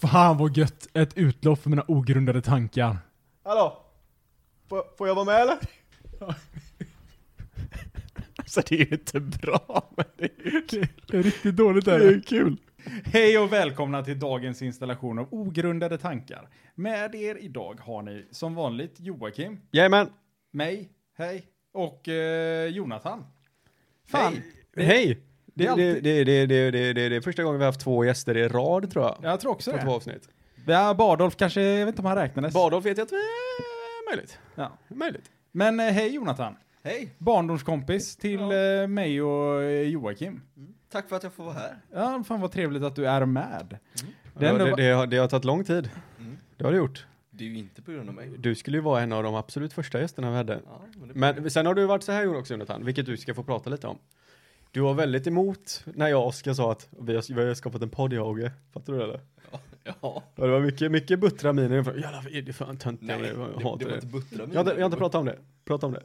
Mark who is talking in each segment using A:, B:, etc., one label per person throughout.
A: Fan vad gött! Ett utlopp för mina ogrundade tankar.
B: Hallå? Får, får jag vara med eller?
C: Alltså det är ju inte bra, men det är ju kul.
A: Det är riktigt dåligt
C: Det är ju kul.
B: Hej och välkomna till dagens installation av Ogrundade tankar. Med er idag har ni som vanligt Joakim,
C: Jajamän.
B: mig, hej, och eh, Jonathan. Fan,
C: Hej!
B: Det är
C: Det, det,
B: alltid-
C: det, det, det, det, det, det är första gången vi har haft två gäster i rad tror jag.
B: jag tror också
C: På två
B: det.
C: avsnitt.
B: Ja, Bardolf kanske, jag vet inte om han räknades.
C: Badolf vet jag att vi är möjligt.
B: ja.
C: Möjligt.
B: Men eh, hej Jonathan.
D: Hej!
B: Barndomskompis till eh, mig och eh, Joakim.
D: Tack för att jag får vara här.
B: Ja, fan vad trevligt att du är med.
C: Det,
B: ändå-
C: det, det, har, det har tagit lång tid.
B: Mm.
C: Det har det gjort.
D: Det är ju inte på grund av mig.
C: Du skulle ju vara en av de absolut första gästerna vi hade.
D: Ja, men det...
C: Men sen har du varit så här gjort också Jonathan, vilket du ska få prata lite om. Du var väldigt emot när jag och Oskar sa att vi har, vi har skapat en podd jag och Åge. Fattar du det eller?
D: ja.
C: Ja, det var mycket, mycket buttra miner. För, Jävlar, vad är det för töntiga?
D: Nej, det, det
C: Jag
D: var
C: hatar det.
D: inte buttra
C: Jag har, inte, jag har inte pratat om det. Prata om det.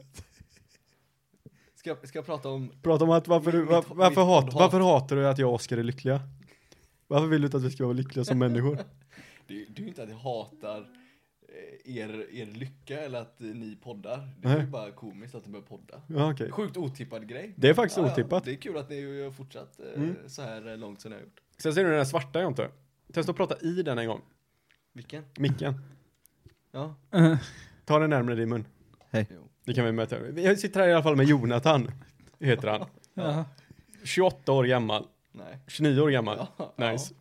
D: Ska, jag- ska jag prata om...
C: Prata om att varför, du,
D: Mitt-
C: var,
D: mitt
C: varför, hat,
D: hat.
C: varför hatar du att jag och Oskar är lyckliga? Varför vill du inte att vi ska vara lyckliga som människor?
D: Det, det är ju inte att jag hatar eh, er, er lycka eller att eh, ni poddar. Det är
C: Nej.
D: ju bara komiskt att ni börjar podda.
C: Ja, okej.
D: Sjukt otippad grej.
C: Det är faktiskt
D: Ja, ja,
C: otippat.
D: Det är kul att ni har fortsatt eh,
C: Mm.
D: så här eh, långt som ni har gjort.
C: Sen ser du den där svarta jag inte. Testa att prata i den en gång.
D: Vilken?
C: Micken.
D: Ja.
C: Ta den närmare din mun.
D: Jo.
C: Det kan vi möta. Jag sitter här i alla fall med Jonathan. Heter han.
B: Ja.
C: 28 år gammal.
D: Nej.
C: 29 år gammal.
D: Ja.
C: Nice.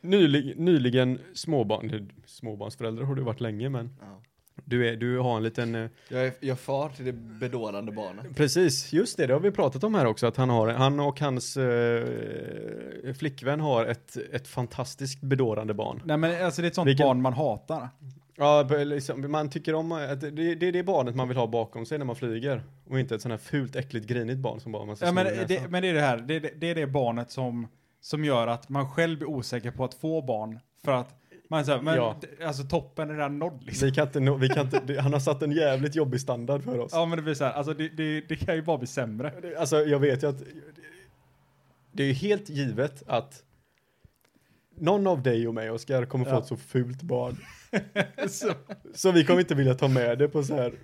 C: Nylig, nyligen småbarn, du- småbarnsförälder har du varit länge men
D: Ja.
C: du, är, du har en liten, eh,
D: Jag, är, jag är far till det bedårande barnet.
C: precis, just det, det har vi pratat om här också att han har, han och hans eh, flickvän har ett, ett fantastiskt bedårande barn.
B: Nej men alltså det är ett sånt
C: Vilken-
B: barn man hatar.
C: Ja, b- liksom, man tycker om att det, det är det barnet man vill ha bakom sig när man flyger och inte ett sånt här fult, äckligt, grinigt barn som bara man ska
B: Ja, men,
C: sno i näsan.
B: det, men det är det här, det, det, det är det barnet som, som gör att man själv blir osäker på att få barn. För att man säger, men
C: Ja.
B: d- alltså toppen är redan nådd liksom.
C: Vi kan inte, nå- vi kan inte, det- han har satt en jävligt jobbig standard för oss.
B: Ja men det blir så här, alltså det, det, det kan ju bara bli sämre.
C: Det- Alltså jag vet ju att det är ju helt givet att någon av dig och mig, Oskar, kommer få
B: Ja.
C: ett så fult barn.
B: Så,
C: Så vi kommer inte vilja ta med det på så här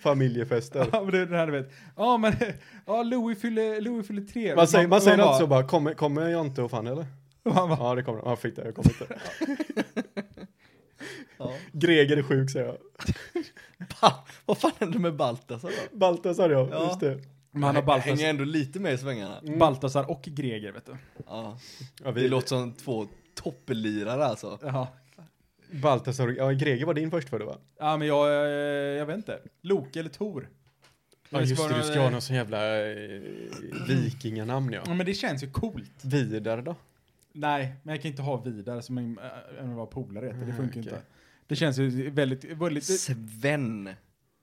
C: familjefester.
B: ja men det är det här du vet, ja men, ja Louis fyller, Louis fyller tre.
C: Man säger, man säger
B: bara-
C: alltid så bara, kommer, kommer jag inte och fan eller?
B: Man bara,
C: Ja det kommer han. ja fick det, jag kommer inte.
D: Ja.
C: Greger är sjuk säger jag.
D: Ba- Vad fan hände med Baltasar då?
C: Baltasar jag,
D: Ja.
C: just det.
B: man har alltså.
D: Jag hänger
B: Baltasar,
D: ändå lite med i svängarna.
C: mm.
B: Baltasar och Greger vet du.
D: Ja.
C: Ja,
D: Det låter som två toppelirare alltså.
B: Ja.
C: Baltasar, ja Greger var din förstfödde va?
B: Ja men jag, eh, jag vet inte. Loke eller Tor?
C: Ja
B: Det
C: just
B: ska
C: det,
B: vara
C: du
B: någon-
C: ska ha någon sån jävla eh, vikinganamn ja.
B: Ja men det känns ju coolt.
C: Vidar då?
B: Nej, men jag kan inte ha Vidar som en, äh, en av våra polare heter. Det
C: Nej,
B: funkar
C: Mm, okej.
B: inte. Det känns ju väldigt, väldigt,
D: Sven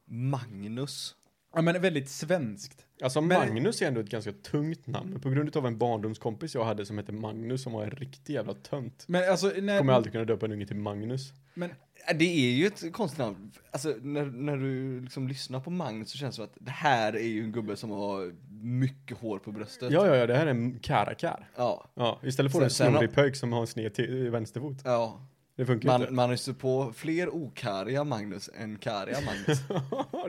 D: Magnus.
B: ja, men väldigt svenskt.
C: Alltså
B: Men-
C: Magnus är ändå ett ganska tungt namn. På grund av en barndomskompis jag hade som hette Magnus som var en riktig jävla tönt.
B: Men alltså, när,
C: Kommer jag aldrig kunna döpa en unge till Magnus.
B: men,
D: Äh, Det är ju ett konstigt namn. Alltså när, när du liksom lyssnar på Magnus så känns det som att det här är ju en gubbe som har mycket hår på bröstet.
C: Ja, ja, ja, det här är en karakar.
D: Ja.
C: Ja, istället får du en
D: Sen- sen
C: snorig pöjk som har en sned till vänsterfot.
D: ja.
C: Det funkar ju
D: Man,
C: inte.
D: man har ju stött på fler okariga Magnus än kariga Magnus.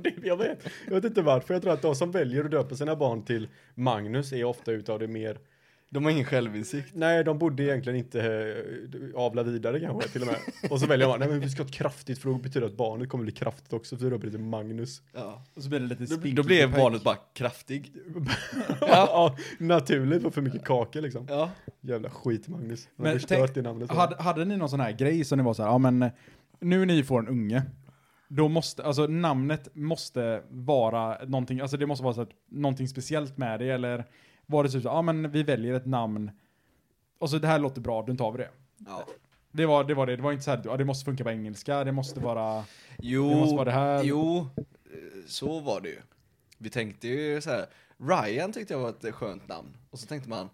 C: det, jag, vet, jag vet inte varför. Jag tror att de som väljer att döpa sina barn till Magnus är ofta utav det mer...
D: De har ingen självinsikt.
C: Nej, de borde egentligen inte eh, avla vidare kanske till och med. Och så väljer man, nej men vi ska ha ett kraftigt för det betyder att barnet kommer bli kraftigt också för du döper det till Magnus.
D: Ja.
B: och så blir det lite
D: Då,
B: spinkig
D: då blir
B: pojk.
D: barnet bara kraftig.
C: ja, naturligt och för mycket kakor liksom.
D: Ja.
C: Jävla skit Magnus. Han
B: Men
C: har förstört
B: tänk-
C: det namnet.
B: Hade, hade ni någon sån här grej som ni var så här, ja men nu när ni får en unge, då måste, alltså namnet måste vara någonting, alltså det måste vara så att någonting speciellt med det eller var det typ så, ja men vi väljer ett namn, och så det här låter bra, då tar vi det.
D: ja.
B: Det var det, var det. det var inte så här, ja, det måste funka på engelska, det måste vara...
D: Jo,
B: Det måste vara det här.
D: jo, eh, så var det ju. Vi tänkte ju så här, Ryan tyckte jag var ett eh, skönt namn. Och så tänkte man,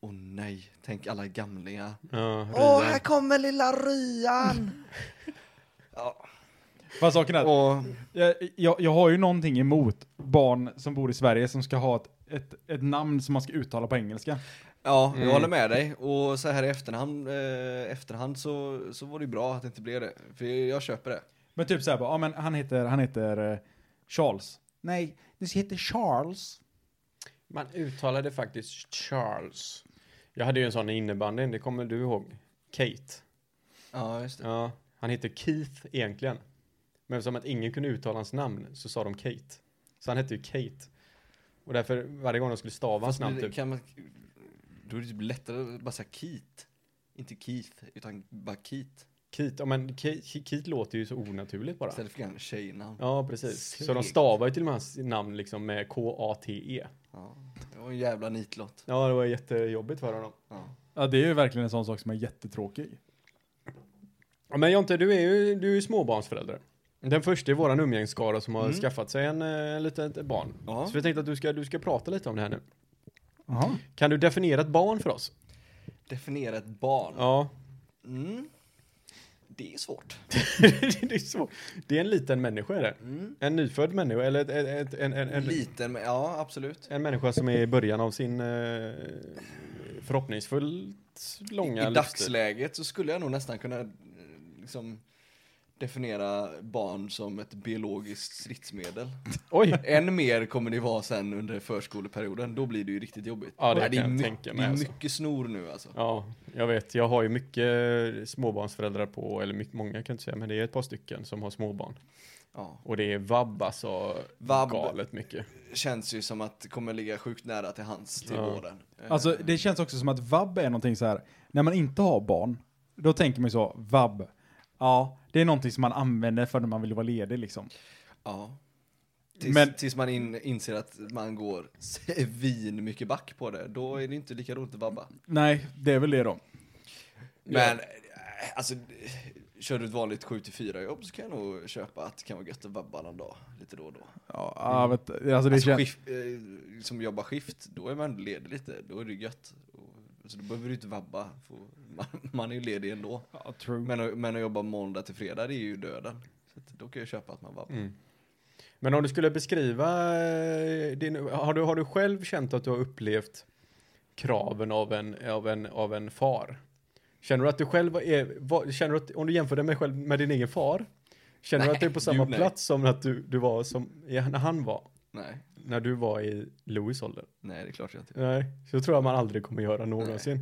D: åh nej, tänk alla gamlingar.
C: Ja,
D: Åh, här kommer lilla Ryan! ja,
B: Fast saken är,
D: och,
B: jag, jag, jag har ju någonting emot barn som bor i Sverige som ska ha ett, ett, ett namn som man ska uttala på engelska.
D: Ja, jag
C: Mm.
D: håller med dig. Och så här i efterhand, eh, efterhand så, så var det ju bra att det inte blev det. För jag köper det.
B: Men typ såhär bara, ja men han heter, han heter eh, Charles. Nej, det heter Charles.
C: Man uttalade faktiskt Charles. Jag hade ju en sån i innebandyn, det kommer du ihåg. Kate.
D: Ja, just det.
C: Ja, han heter Keith egentligen. Men eftersom att ingen kunde uttala hans namn så sa de Kate. Så han hette ju Kate. Och därför varje gång de skulle stava hans namn
D: Det-
C: typ.
D: kan man, då är det typ lättare att bara säga Keith. Inte Keith, utan bara Keith.
C: Keith, ja men Kate, Keith låter ju så onaturligt bara.
D: Istället för en tjejnamn. Ja.
C: Ja, precis. Så de
D: Segt.
C: stavar ju till och med hans namn liksom med K-A-T-E.
D: Det var en jävla nitlott.
C: E. Ja, det var jättejobbigt för honom.
D: Ja.
B: Ja det är ju verkligen en sån sak som är jättetråkig.
C: Ja, men Jonte, du är ju, du är ju småbarnsförälder. Den första i våran umgängesskara som har
D: Mm.
C: skaffat sig en, eh, en litet barn.
D: Ja.
C: Så vi tänkte att du ska, du ska prata lite om det här nu.
B: Jaha.
C: Kan du definiera ett barn för oss?
D: Definiera ett barn.
C: Ja,
D: Mm. Det är svårt.
C: det är så. Det är en liten människa är det.
D: Mm.
C: En nyfödd människa, eller ett, ett, ett, en, en, en,
D: Liten, men ja absolut.
C: en människa som är i början av sin eh, förhoppningsfullt långa
D: I
C: livstid.
D: dagsläget så skulle jag nog nästan kunna eh, liksom, definiera barn som ett biologiskt stridsmedel.
C: Oj!
D: Än mer kommer det vara sen under förskoleperioden, då blir det ju riktigt jobbigt.
C: Ja, det
D: Nej,
C: kan
D: är
C: jag
D: my-
C: tänka mig,
D: Det är
C: alltså.
D: mycket snor nu alltså.
C: Ja, jag vet. Jag har ju mycket småbarnsföräldrar på, eller mycket, många kan jag inte säga, men det är ett par stycken som har småbarn.
D: Ja.
C: Och det är vabb alltså,
D: Vabb.
C: galet mycket.
D: Känns ju som att det kommer ligga sjukt nära till hans till
C: Ja.
D: våren. Eh,
B: Alltså det känns också som att vabb är någonting så här. när man inte har barn, då tänker man ju så, vabb. Ja, det är någonting som man använder för när man vill vara ledig liksom.
D: ja. Tills,
B: Men-
D: tills man in, inser att man går svin mycket back på det, då är det inte lika roligt att vabba.
B: Nej, det är väl det då.
D: Men eh, alltså, kör du ett vanligt 7-4 jobb så kan jag nog köpa att det kan vara gött att vabba någon dag, lite då och då.
B: Ja, jag vet, alltså det
D: Alltså,
B: känns...
D: skift, eh, som jobbar skift, då är man ledig lite, då är det gött. Och- Så då behöver du inte vabba, för man, man är ju ledig ändå.
B: Ja, true.
D: Men att, men att jobba måndag till fredag, det är ju döden. Så att, då kan jag köpa att man vabbar.
C: Mm. Men om du skulle beskriva eh, din, har du, har du själv känt att du har upplevt kraven av en, av en, av en far? Känner du att du själv är, vad, känner du att, om du jämför dig med, själv, med din egen far, känner du att du är på
D: Nej,
C: samma
D: gud, nej.
C: plats som att du, du var som, ja, när han var,
D: Nej,
C: när du var i Louis ålder?
D: nej det är klart jag inte
C: Nej, så tror jag man aldrig kommer göra någonsin.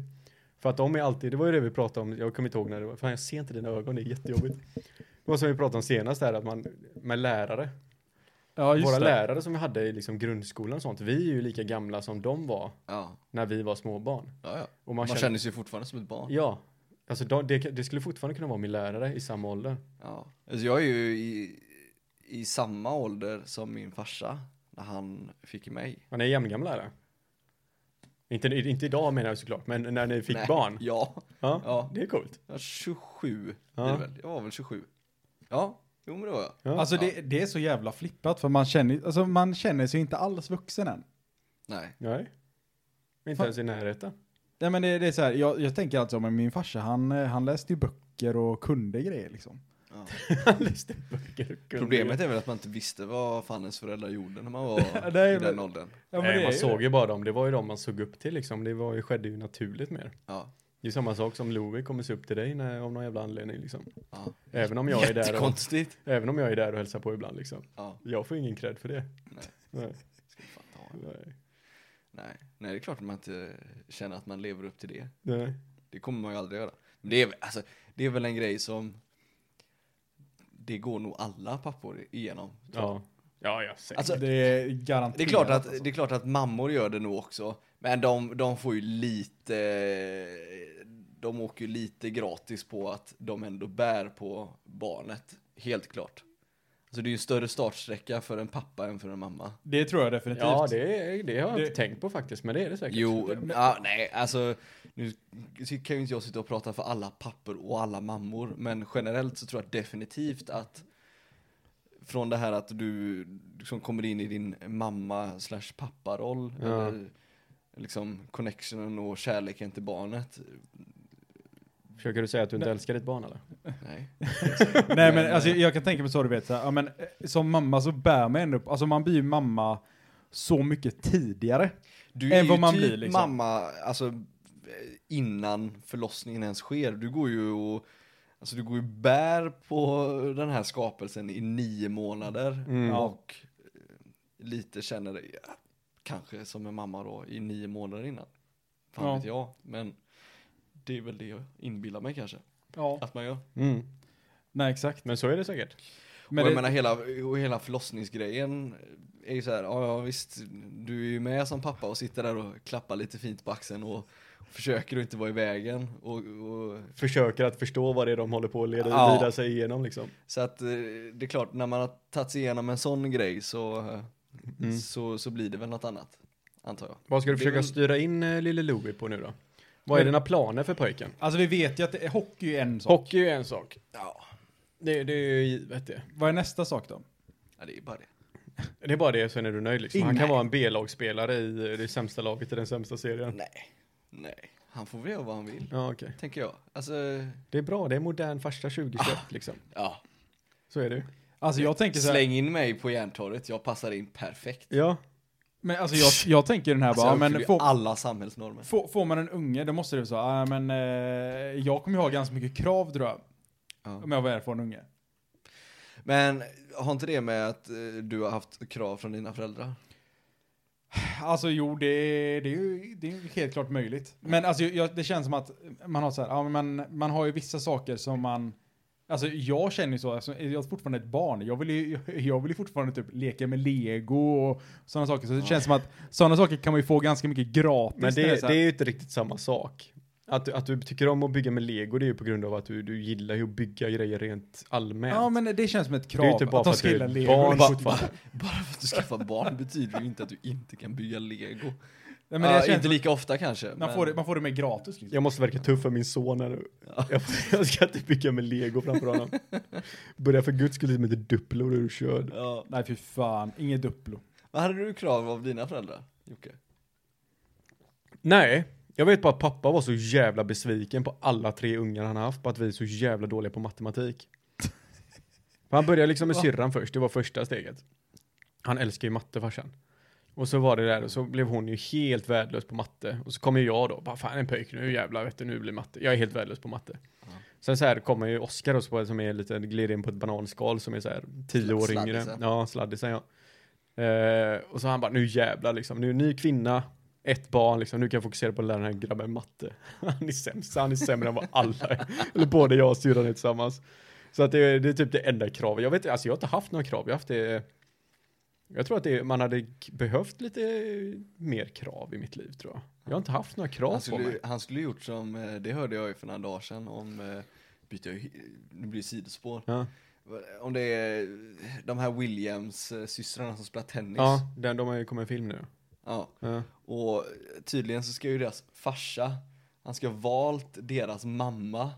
C: För att de är alltid, det var ju det vi pratade om, jag kommer inte ihåg när det var, fan jag ser inte dina ögon, det är jättejobbigt. Det var som vi pratade om senast här, att man, med lärare,
B: Ja, just
C: våra
B: det.
C: lärare som vi hade i liksom grundskolan och sånt, vi är ju lika gamla som de var
D: Ja,
C: när vi var småbarn.
D: ja, ja.
C: Och
D: Man,
C: man, känner,
D: känner sig ju fortfarande som ett barn.
C: ja, alltså de, det, det skulle fortfarande kunna vara min lärare i samma ålder.
D: Ja. Alltså, jag är ju i, i samma ålder som min farsa, när han fick mig.
C: Man är jämngamla eller? Inte, inte idag menar jag såklart, men när ni fick
D: Nej,
C: barn.
D: Ja,
C: Ja,
D: ja.
C: det är coolt.
D: Jag var 27,
C: Ja.
D: blir det väl. jag var väl 27. Ja, jo men det var jag.
C: Ja.
B: Alltså det, det är så jävla flippat för man känner, alltså, man känner sig inte alls vuxen än.
D: Nej.
C: Nej. Inte
B: Fan.
C: ens i närheten.
B: Ja, men det, det är så här, jag, jag tänker alltså, men min farsa han, eh, han läste ju böcker och kunde grejer liksom.
D: Ja.
C: Han läste böcker och kunde-
D: Problemet är väl att man inte visste vad fan ens föräldrar gjorde när man var
B: Nej,
D: i den
B: men-
D: åldern.
B: Ja,
C: Nej, Eh, man såg ju bara dem. Det var ju dem man såg upp till liksom. Det var ju, skedde ju naturligt mer.
D: Ja,
C: Det är samma sak som Louie kommer se upp till dig när, av någon jävla anledning liksom.
D: ja.
C: Även om jag är där och,
D: Jättekonstigt.
C: även om jag är där och hälsar på ibland liksom.
D: Ja,
C: Jag får ingen cred för det.
D: Nej.
C: Nej.
D: ska fan ta en.
C: Nej.
D: Nej. Nej, det är klart att man inte känner att man lever upp till det.
C: Nej.
D: Det kommer man ju aldrig göra. Men det är, väl- alltså, det är väl en grej som det går nog alla pappor igenom.
C: Ja. Ja, jag säger.
D: Alltså,
B: det är garanterat.
D: det, är klart att,
B: alltså.
D: det är klart att mammor gör det nog också. Men de, de får ju lite, de åker ju lite gratis på att de ändå bär på barnet. Helt klart. Alltså det är ju större startsträcka för en pappa än för en mamma.
B: det tror jag definitivt.
C: ja, det, är- det har jag
B: Det-
C: inte tänkt på faktiskt, men det är det säkert.
D: Jo, ja, nej, alltså nu kan ju inte jag sitta och prata för alla papper och alla mammor, men generellt så tror jag definitivt att från det här att du liksom kommer in i din mamma slash papparoll,
C: Ja.
D: eller liksom connectionen och kärleken till barnet.
C: Försöker du säga att du inte älskar ditt barn eller?
D: Nej.
B: Nej men
D: Men,
B: alltså
D: eh,
B: jag kan tänka mig så du vet, så här, ja, men, eh, som mamma så bär man ändå upp, alltså man blir ju mamma så mycket tidigare.
D: Du
B: Än
D: är ju
B: vad man
D: typ
B: blir, liksom.
D: mamma, alltså eh, innan förlossningen ens sker. Du går ju och Alltså du går ju bär på den här skapelsen i nio månader
C: Mm.
D: och eh, lite känner dig, ja, kanske som en mamma då, i nio månader innan. Fan
B: Ja.
D: vet jag, men det är väl det jag inbillar mig kanske
B: Ja.
D: att man gör.
C: Mm.
B: Nej, exakt.
C: Men så är det säkert.
B: Men
D: och jag
B: det,
D: menar hela, och hela förlossningsgrejen är ju så här, ja, ja visst, du är ju med som pappa och sitter där och klappar lite fint på axeln och försöker att inte vara i vägen. Och, och,
C: Försöker att förstå vad det är de håller på att leda
D: Ja.
C: vidare sig igenom liksom.
D: så att eh, det är klart, när man har tagit sig igenom en sån grej så, eh,
B: Mm.
D: så, så blir det väl något annat, antar jag.
C: Vad ska du
D: Det är
C: försöka
D: väl-
C: styra in eh, lille Louie på nu då? Vad är dina planer för pojken?
B: alltså vi vet ju att det, hockey är en sak.
C: Hockey är en sak.
D: Ja,
C: Det, det är ju givet det.
B: Vad är nästa sak då?
D: ja det är bara det.
C: Det är bara det, sen är du nöjd liksom. Han
B: Nej.
C: kan vara en B-lagsspelare i eh, det sämsta laget i den sämsta serien.
D: Nej, nej, han får väl göra vad han vill,
C: Ja, okej.
D: tänker jag. Alltså,
C: Det är bra, det är modern farsta 2021 liksom.
D: ja,
C: Så är det ju.
B: Alltså jag tänker så här,
D: alltså, släng in mig på Järntorget, jag passar in perfekt.
C: Ja.
B: men alltså jag, jag tänker den här
D: Alltså,
B: bara,
D: jag
B: men
D: uppfyller
B: får,
D: alla samhällsnormer.
B: får, får man en unge då måste det vara så, ah, men eh, jag kommer ju ha ganska mycket krav tror jag.
D: Ja.
B: Om jag väl får en unge.
D: Men har inte det med att eh, du har haft krav från dina föräldrar?
B: Alltså jo, det, det, är, ju, det är ju helt klart möjligt. Men alltså, jag, det känns som att man har så här, ja, men man har ju vissa saker som man... Alltså jag känner ju så, alltså, jag är fortfarande ett barn. Jag vill ju, jag vill ju fortfarande typ leka med lego och sådana saker. Så det känns som att sådana saker kan man ju få ganska mycket gratis.
C: Men
B: när
C: det,
B: så
C: det
B: här-
C: är ju inte riktigt samma sak. Att, du- att du tycker om att bygga med lego, det är ju på grund av att du, du gillar ju att bygga grejer rent allmänt.
B: Ja men det känns som ett krav.
C: det är ju inte bara
B: att
C: för
B: de
C: att
B: ska
C: du
B: gilla lego.
C: är barn
D: Bara-
C: fortfarande.
D: Bara för att du skaffar barn betyder ju inte att du inte kan bygga lego.
B: Ja, men
D: Men
B: det
D: det
B: känns
D: inte
B: som-
D: lika ofta kanske.
B: man,
D: men-
B: får det, man får det mer gratis liksom.
C: Jag måste verka tuff för min son här nu. Jag, jag ska inte bygga med lego framför honom. Börja för guds skull med lite Duplo, då är du körd.
D: Ja.
B: Nej fy fan, inget Duplo.
D: Vad hade du krav av dina föräldrar, Jocke?
C: Nej, jag vet bara att pappa var så jävla besviken på alla tre ungar han haft på att vi är så jävla dåliga på matematik. För han började liksom med syrran först, det var första steget. Han älskar ju matte farsan. Och så var det där och så blev hon ju helt värdelös på matte. Och så kommer ju jag då, bara fan en pöjk nu jävlar vet du, nu blir matte. Jag är helt värdelös på matte. Sen så här kommer ju Oskar också på- som är lite, glider in på ett bananskal som är så här tio år
D: Sladdisen.
C: yngre. Ja, sladdisen ja. Eh, och så han bara, nu jävlar liksom, nu är ny kvinna, ett barn liksom, nu kan jag fokusera på att lära den här grabben matte. Han är sämst, han är sämre än vad alla är. Eller både jag och syrran är tillsammans. Så att det, är- det är typ det enda kravet. Jag vet alltså jag har inte haft några krav, jag har haft det. Jag tror att det, man hade k- behövt lite mer krav i mitt liv tror jag. Jag har inte haft några krav
D: Han
C: på mig.
D: skulle, han skulle gjort som, eh, det hörde jag ju för några dagar sedan om, eh, byter jag, hy- nu blir det sidospår.
C: Ja.
D: Om det är de här Williams-systrarna som spelar tennis.
C: Ja, den, de har ju kommit en film nu.
D: Ja.
C: Ja.
D: Och tydligen så ska ju deras farsa, han ska ha valt deras mamma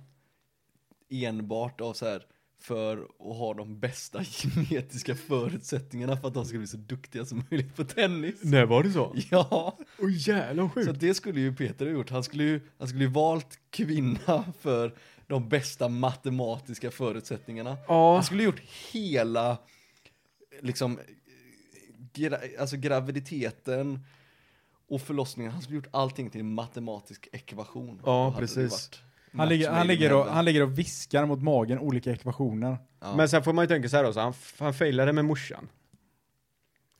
D: enbart av så här för att ha de bästa genetiska förutsättningarna för att de ska bli så duktiga som möjligt på tennis.
C: Nej, var det så?
D: Ja,
C: Åh jävlar vad
D: så
C: sjukt.
D: att det skulle ju Peter ha gjort. Han skulle ju, han skulle ju valt kvinna för de bästa matematiska förutsättningarna.
C: Ja.
D: Han skulle gjort hela, liksom, gra, alltså graviditeten och förlossningen. Han skulle gjort allting till en matematisk ekvation.
C: Ja,
D: Då hade det
C: precis.
D: varit
B: Han
D: match
B: ligger, han,
D: made
B: ligger
D: in
B: och,
D: heaven.
B: han ligger och viskar mot magen olika ekvationer.
D: Ja.
C: Men sen får man ju tänka så här också, han, f- han failade med morsan.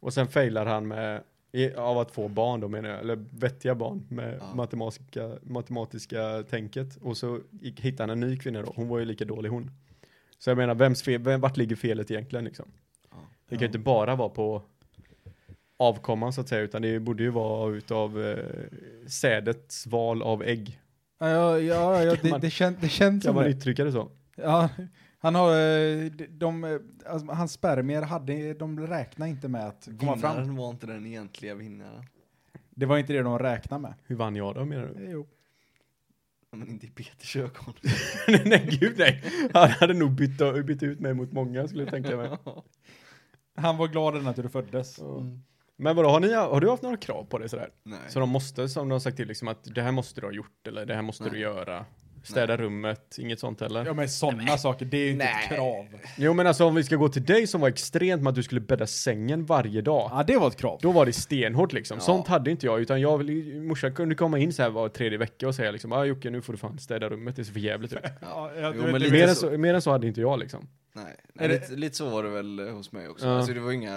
C: Och sen failar han med, i, av att få barn då menar jag, eller vettiga barn med
D: Ja.
C: matematiska, matematiska tänket. Och så gick- hittade han en ny kvinna då, hon var ju lika dålig hon. Så jag menar, vems fel, vem, vart ligger felet egentligen liksom?
D: Ja.
C: Det kan ju inte bara vara på avkomman så att säga, utan det borde ju vara utav eh, sädets val av ägg.
B: Ja, ja, ja, ja
C: Kan
B: det,
C: man-
B: det, kän, det känns
C: Kan
B: som
C: man
B: det.
C: uttrycka det så?
B: Ja, han har, eh, de, de, eh, alltså, hans spermier hade, de räknar inte med att komma fram.
D: Vinnaren var inte den egentliga vinnaren.
B: Det var inte det de räknade med.
C: Hur vann jag då menar du?
B: Jo.
D: Men inte i Peters ögon.
C: nej, nej, gud nej. Han hade nog bytt, bytt ut mig mot många skulle jag tänka mig.
B: Han var glad även att du föddes.
C: Men vadå, har, ni, har du haft några krav på dig sådär?
D: Nej.
C: Så de måste, som de har sagt till, liksom att det här måste du ha gjort eller det här måste
D: Nej.
C: du göra. städa rummet, inget sånt heller.
B: Ja men sådana saker, det är ju inte
D: Nej.
B: ett krav.
C: Jo men alltså om vi ska gå till dig som var extremt med att du skulle bädda sängen varje dag.
B: Ja det var ett krav.
C: Då var det stenhårt liksom.
D: Ja.
C: Sånt hade inte jag, utan jag ville- morsan kunde komma in så här var tredje vecka och säga liksom, ah, Jocke nu får du fan städa rummet, det ser för jävligt ut.
B: Ja,
D: Jo, men lite
C: Mer än,
D: så.
C: så, mer än så hade inte jag liksom.
D: Nej, nej
B: Är det-
D: lite, lite så var det väl eh, hos mig också.
C: Ja.
D: Alltså det var inga,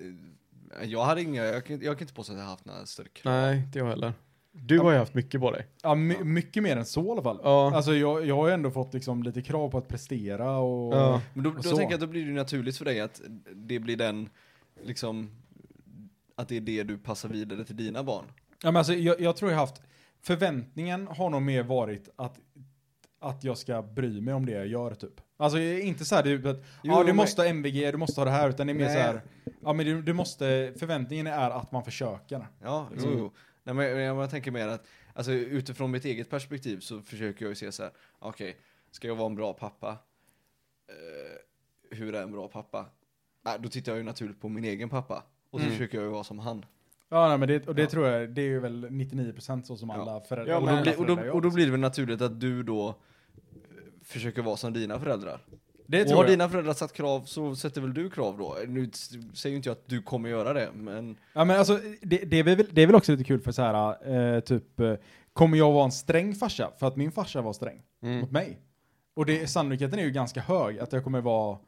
D: eh, jag hade inga, jag kan, jag kan inte påstå att jag haft några större krav.
C: Nej, inte jag heller. Du har ju haft mycket på dig.
B: Ja, my, mycket mer än så i alla fall.
C: Ja.
B: Alltså jag, jag har ju ändå fått liksom lite krav på att prestera och...
C: Ja.
D: Men då,
B: Och
D: då
B: så.
D: tänker jag att då blir det ju naturligt för dig att det blir den, liksom, att det är det du passar vidare till dina barn.
B: Ja, men alltså, jag, jag tror jag haft, förväntningen har nog mer varit att, att jag ska bry mig om det jag gör typ. Alltså jag är inte så här typ att,
D: Jo,
B: ja du
D: men-
B: måste ha MVG, du måste ha det här, utan det är mer
D: Nej.
B: så här, ja men du, du måste, förväntningen är att man försöker.
D: Ja, jo, jo. Nej, men jag, jag tänker mer att, alltså utifrån mitt eget perspektiv så försöker jag ju se så här, okej, ska jag vara en bra pappa? Eh, hur är en bra pappa? Nej, då tittar jag ju naturligt på min egen pappa. Och så
C: Mm.
D: försöker jag ju vara som han.
B: Ja, nej, men det, och det
D: Ja.
B: tror jag, det är ju väl 99% så som
D: Ja.
B: alla föräldrar.
C: Ja,
D: och,
C: men-
D: då blir, och,
B: föräldrar
D: då,
B: gör.
D: och då blir det väl naturligt att du då eh, försöker vara som dina föräldrar.
B: det
D: och
B: tror
D: har
B: jag.
D: dina föräldrar satt krav så sätter väl du krav då? Nu s- säger ju inte jag att du kommer göra det, men
B: Ja men alltså, det, det, är väl, det är väl också lite kul för så här, eh, typ, eh, kommer jag vara en sträng farsa? För att min farsa var sträng
D: Mm.
B: mot mig. Och det, sannolikheten är ju ganska hög att jag kommer vara,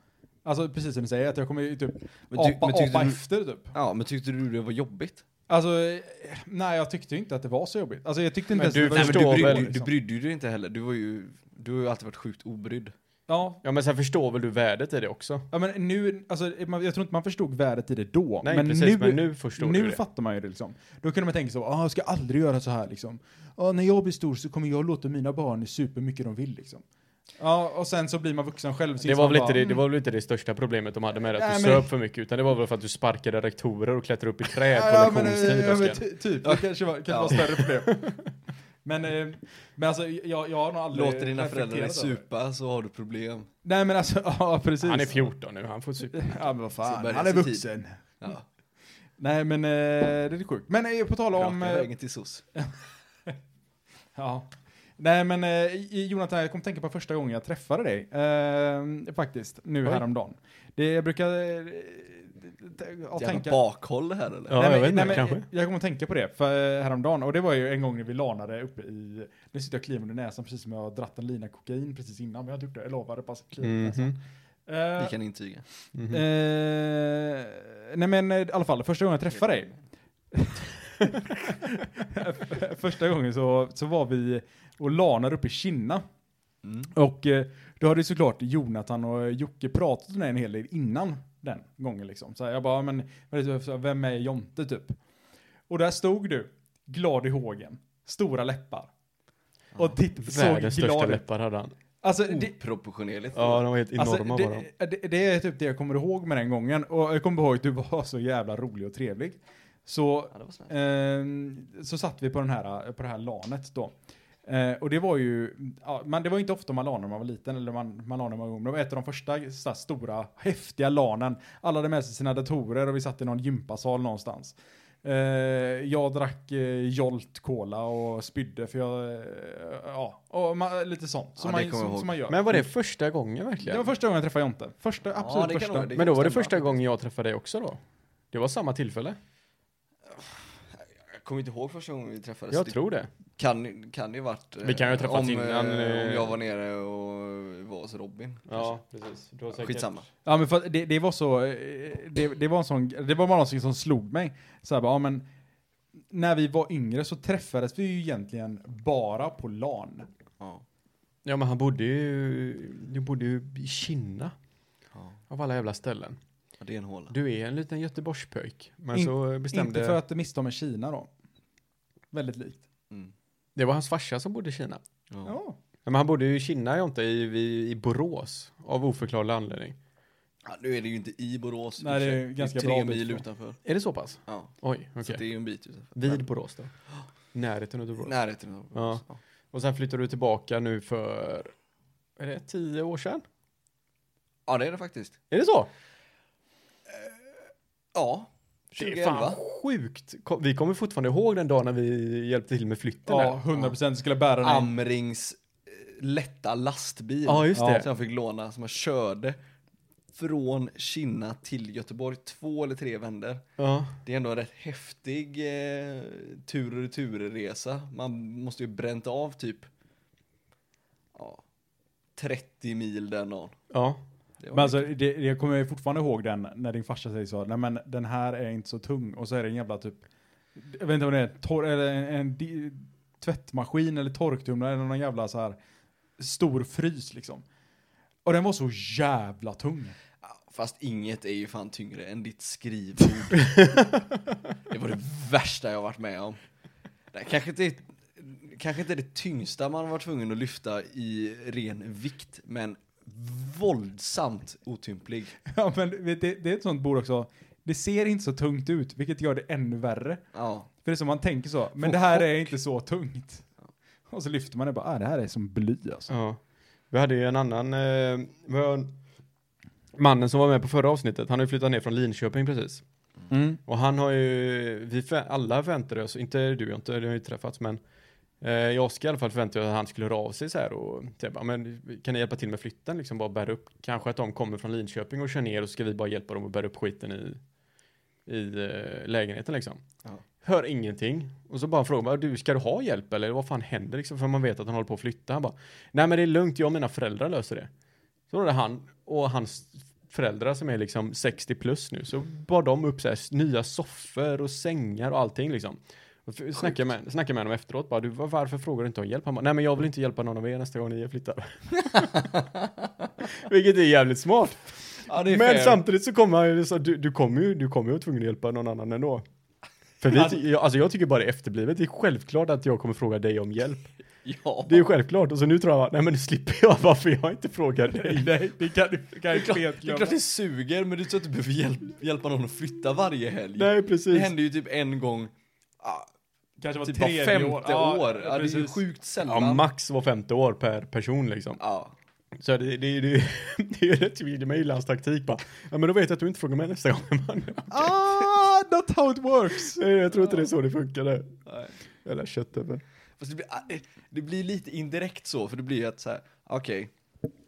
B: alltså precis som du säger, att jag kommer ju typ
D: Men ty-
B: apa,
D: men tyckte
B: apa
D: du-
B: efter typ.
D: ja, men tyckte du det var jobbigt?
B: Alltså, eh, nej jag tyckte ju inte att det var så jobbigt. Alltså jag tyckte inte
C: Men
B: ens
C: du
B: det var
D: men
C: förstår
D: du,
C: väl,
D: brydde, du, du
B: liksom.
D: brydde ju dig inte heller, du var ju, du har ju alltid varit sjukt obrydd.
B: Ja.
C: Ja men sen förstår väl du värdet i det också?
B: ja, men nu, alltså man- jag tror inte man förstod värdet i det då.
C: Nej
B: men
C: precis,
B: nu,
C: men nu förstår
B: nu
C: du det.
B: fattar man ju det liksom. Då kunde man tänka så, ah, jag ska aldrig göra så här liksom. Ah, när jag blir stor så kommer jag låta mina barn super mycket de vill liksom. Ja, och sen så blir man vuxen själv. så
C: Det
B: inser
C: var,
B: man
C: väl inte
B: bara,
C: det, det var väl inte det största problemet de hade med det, att du
B: Nej, men-
C: söp för mycket, utan det var väl för att du sparkade rektorer och klättrade upp i träd på
B: Ja, men, eh, ja,
C: lektionstid,
B: men
C: Oskar.
B: ty- typ, det kanske var, kanske var större problem. Men, eh, men alltså, jag, jag har nog aldrig
D: Låter dina föräldrar dig
B: reflekterat över det.
D: supa så har du problem.
B: Nej men alltså, ja precis.
C: Han är 14 nu, han får supa.
B: Ja men vad
D: Så
B: fan,
D: börjar
B: han är
D: sin tid.
B: vuxen.
D: Ja.
B: Nej men eh, det är sjukt. Men eh, på tal om...
D: Raka
B: eh,
D: vägen till SOS.
B: Ja. Nej men eh, Jonathan, jag kom tänka på första gången jag träffade dig. Eh, faktiskt, nu
C: Oj.
B: häromdagen. Det jag brukar... Eh, t- ja,
D: Jävla bakhåll här eller?
C: Ja,
B: Nej,
C: jag
B: men-
C: vet inte,
B: nej, men,
C: kanske.
B: Jag kommer att tänka på det för eh, häromdagen och det var ju en gång när vi lanade uppe i, nu sitter jag och kliar under näsan precis som jag har dratt en lina kokain precis innan, men jag har inte gjort det, jag lovar, det bara kliar under
C: Mhm.
B: näsan. Eh,
D: Vi kan intyga.
C: Mhm.
B: Eh, nej men eh, i alla fall, första gången jag träffade dig. första gången så, så var vi och lanade uppe i Kinna.
D: Mm.
B: Och eh, då hade ju såklart Jonathan och Jocke pratat om det en hel del innan den gången liksom. Så här, jag bara, "Ja, men vad är det för- vem är Jonte typ? Och där stod du, glad i hågen, stora läppar. Och titt, såg
C: Världens största
B: glad ut.
C: läppar hade han.
B: Alltså,
D: Oh,
B: det,
D: Oproportionerligt.
C: Ja, de var helt enorma
B: alltså,
C: var de.
B: det, det, det är typ det jag kommer ihåg med den gången. Och jag kommer ihåg att du var så jävla rolig och trevlig. Så,
D: Ja, det var snällt.
B: ehm, så satt vi på, den här, på det här lanet då. Eh, och det var ju, ja, man, det var ju inte ofta man lanade när man var liten, eller man, man lanade när man var ung, men det var ett av de första så här, stora, häftiga lanen. Alla hade med sig sina datorer och vi satt i någon gympasal någonstans. Eh, jag drack eh, Jolt Cola och spydde för jag, eh, ja, och man, lite sånt. Som,
D: Ja, det
B: man,
D: kommer jag
B: som,
D: ihåg.
B: som man gör.
C: Men var det första gången verkligen?
B: Det var första gången jag träffade Jonte. Första, absolut
D: det kan
B: första.
D: nog- det-
C: Men då var det
D: stämma.
C: första gången jag träffade dig också då? Det var samma tillfälle?
D: Jag kommer inte ihåg första gången vi träffades.
B: Alltså,
C: Jag
D: Det
C: tror det.
D: kan, kan ju varit... eh,
C: Vi kan ju ha träffats
D: om, eh,
C: innan, eh,
D: Om jag var nere och var hos Robin.
C: Ja, precis. Du har säkert...
D: Skitsamma.
B: Ja men för att det, det var så, eh, det, det var en sån, det var bara någonting som slog mig. Så här, bara, ja, men när vi var yngre så träffades vi ju egentligen bara på LAN.
D: Ja.
C: Ja, men han bodde ju... Du bodde ju i Kinna.
D: Ja.
C: Av alla jävla ställen.
D: Ja, Det är en håla.
C: Du är en liten Göteborgspöjk. Men
B: In-
C: så bestämde...
B: Inte för att det misstag med Kina då. Väldigt likt.
D: Mm.
C: Det var hans farsa som bodde i Kina.
D: Ja.
B: Ja.
C: Ja, men han bodde ju i Kina, jag inte, i, i, i Borås. Av oförklarlig anledning.
D: Ja, nu är det ju inte i Borås. i
B: Nej, det är
D: och för
B: ju
D: sig.
B: ganska
D: tre
B: bra bit
D: mil
B: ifrån.
D: utanför.
C: Är det så pass?
D: Ja,
C: Oj,
D: så
C: okej.
D: det är ju en bit utanför.
C: Vid Borås då? Närheten av Borås.
D: Närheten av Borås. Ja.
C: Och sen flyttade du tillbaka nu för... Är det tio år sedan?
D: ja, det är det faktiskt.
C: Är det så?
D: Ja,
C: Det är fan
D: 2011.
C: sjukt. Kom- Vi kommer fortfarande ihåg den dagen när vi hjälpte till med flytten
B: Ja,
C: där.
B: 100% skulle jag bära den.
D: Amrings eh, lätta lastbil.
C: Ja, just det.
D: Som jag fick låna, som jag körde från Kinna till Göteborg två eller tre vändor.
C: Ja.
D: Det är ändå en rätt häftig eh, tur och returresa. Man måste ju bränt av typ ja, 30 mil den dagen.
C: Ja.
D: Det var
B: Men alltså, det, det- jag kommer ju fortfarande ihåg den när din farsa säger så. Nej men den här är inte så tung. Och så är det en jävla typ, jag vet inte vad det är, torr, eller en, en di, tvättmaskin eller torktumlare eller någon jävla så här stor frys liksom. Och den var så jävla tung.
D: Fast inget är ju fan tyngre än ditt skrivbord. det var det värsta jag varit med om. Det kanske inte är Kanske inte det tyngsta man var tvungen att lyfta i ren vikt, men våldsamt otymplig.
B: Ja men vet du, det, det är ett sånt bord också. Det ser inte så tungt ut, vilket gör det ännu värre.
D: Ja,
B: För det är som man tänker så, men
D: Får
B: det här är inte så tungt. Och så lyfter man det bara, ah, det här är som bly alltså.
C: Ja. Vi hade ju en annan, eh, vi har en- mannen som var med på förra avsnittet, han har ju flyttat ner från Linköping precis.
B: Mm.
C: Och han har ju, vi för, alla förväntade oss, inte du, jag har inte, det har ju träffats men eh, jag och Oskar i alla fall förväntade oss att han skulle höra av sig så här och typ, ja, men kan ni hjälpa till med flytten liksom bara bära upp, kanske att de kommer från Linköping och kör ner och så ska vi bara hjälpa dem att bära upp skiten i, i eh, lägenheten liksom.
D: Ja.
C: Hör ingenting och så bara frågar man, du ska du ha hjälp eller vad fan händer liksom för man vet att han håller på att flytta. Han bara, nej men det är lugnt, jag och mina föräldrar löser det. Så var det han och hans föräldrar som är liksom 60 plus nu, så bar de upp så här, s- nya soffor och sängar och allting liksom. Och f- snackade med, snackade med honom efteråt, bara, du, var- varför frågar du inte om hjälp? Han bara, nej men jag vill inte hjälpa någon av er nästa gång ni flyttar. Vilket är jävligt smart.
D: ja det är
C: Men
D: fair.
C: samtidigt så kommer han ju, så, du, du kommer ju, du kommer ju vara tvungen att hjälpa någon annan ändå. För vi, ty- jag- alltså jag tycker bara det är efterblivet, det är självklart att jag kommer fråga dig om hjälp.
D: Ja,
C: Det är ju självklart, och så nu tror jag, nej men nu slipper jag varför jag inte frågar dig.
B: Nej, det kan du kan
D: det, är
B: ju
D: klart,
B: klart,
D: det är klart det suger, men det är så att du behöver hjälp, hjälpa någon att flytta varje helg.
C: Nej
D: det
C: precis.
D: händer ju typ en gång, ah,
B: Kanske var
D: typ var
B: tredje
D: femte
B: år.
D: år.
B: Ja,
D: Ja, det är ju
B: precis.
D: sjukt
C: Ja,
D: sällan.
C: max var femte år per person liksom.
D: ja.
C: Så det, det, det, det är ju rätt tydligt med Ilans taktik bara. Ja men då vet jag att du inte frågar mig nästa gång. Man.
B: Ah, not how it works!
C: Nej, Jag tror inte det är så det funkade.
D: Nej.
C: Eller köttövel.
D: Fast det, blir, ah, det- det blir lite indirekt så, för det blir ju att så här, okej,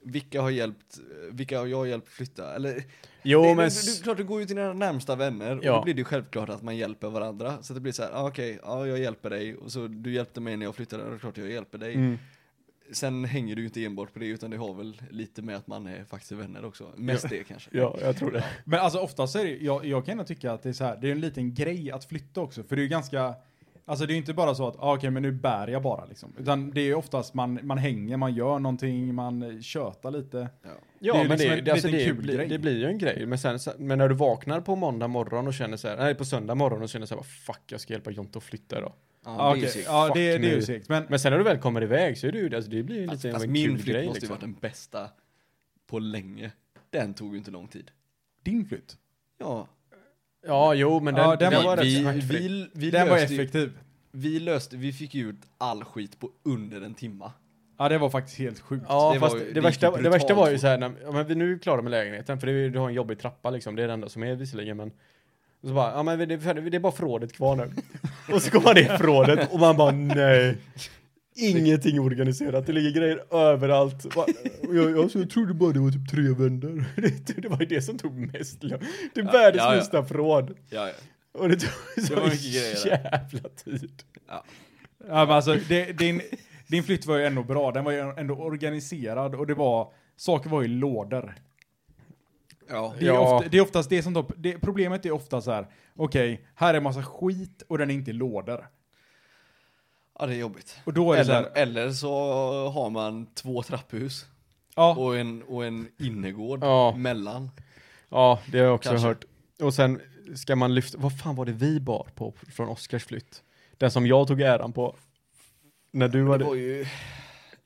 D: vilka har hjälpt, vilka har jag hjälpt flytta? Eller,
C: Jo
D: det,
C: men...
D: det, det, det, är klart, du går ju till dina närmsta vänner och
C: Ja.
D: då blir det ju självklart att man hjälper varandra. Så det blir så här, ah, okej, ja, jag hjälper dig och så du hjälpte mig när jag flyttade och det är klart jag hjälper dig.
C: Mm.
D: Sen hänger du ju inte enbart på det utan det har väl lite med att man är faktiskt vänner också. Mest det kanske.
C: Ja, jag tror det.
B: Men alltså oftast är det, jag, jag kan ändå tycka att det är så här, det är en liten grej att flytta också, för det är ju ganska, alltså det är ju inte bara så att, ah, okej men nu bär jag bara liksom, utan det är ju oftast man, man hänger, man gör någonting, man eh, tjötar lite.
D: Ja.
C: Ja,
B: Det är ju
C: men
B: liksom
C: det,
B: en
C: det, alltså,
B: liten
C: det,
B: kul
C: blir,
B: grej.
C: det blir ju en grej. Men, sen, så- men när du vaknar på måndag morgon och känner så här, nej på söndag morgon och känner så här, "Vad fuck jag ska hjälpa Jonte att flytta idag.
D: Ja,
B: Ja,
D: det är ju
B: Ah, okej.
D: sykt.
B: ja det,
C: Fuck
B: det är ju
C: nu.
B: segt, men
C: Men sen när du väl kommer iväg så är det ju, alltså, det blir ju lite av
D: Fast
C: en
D: min
C: kul
D: flytt
C: grej.
D: måste ju
C: Liksom.
D: varit den bästa på länge. Den tog ju inte lång tid.
B: din flytt,
D: Ja,
C: Ja, jo, men den,
B: Ja, den
C: den
D: vi,
C: var rätt
D: vi,
C: smärtfri.
D: vi, vi,
B: den var
D: löste ju,
B: effektiv.
D: vi löste, vi fick ju ut all skit på under en timma.
B: Ja det var faktiskt helt sjukt.
C: Ja,
D: Det var
C: fast
D: ju-
C: det,
D: det
C: värsta,
D: gick ju
C: det värsta var ju
D: brutalt
C: så här, när, ja, men vi nu är vi klara med lägenheten, för det är, ju- du har en jobbig trappa liksom, det är det enda som är visserligen, men och så bara, ja men det, det är bara förrådet kvar nu. och så kommer man ner i förrådet och man bara, nej. Ingenting organiserat, det ligger grejer överallt. Bara, och Jag, alltså, jag, jag trodde bara det var typ tre vändor. Det, det var ju det som tog mest lång- Det är världens
D: ja, ja.
C: minsta förråd.
D: Ja, ja.
C: Och det tog så
D: var mycket grejer där.
C: jävla tid.
B: Ja, men alltså, det, din, din flytt var ju ändå bra, den var ju ändå organiserad och det var, saker var i lådor.
D: ja.
B: Det är,
C: Ja.
B: ofta, det är oftast det som tar, det, problemet är ofta så här, okej, här är massa skit och den är inte i lådor.
D: ja det är jobbigt.
B: Och då är det så
D: Eller,
B: här,
D: eller så har man två trapphus
B: ja,
D: och en, och en innergård
C: Ja.
D: mellan.
C: Ja, det har jag också
D: Kanske.
C: hört. Och sen ska man lyfta, vad fan var det vi bar på från Oscars flytt? Den som jag tog äran på. När du
D: Det
C: hade,
D: var ju,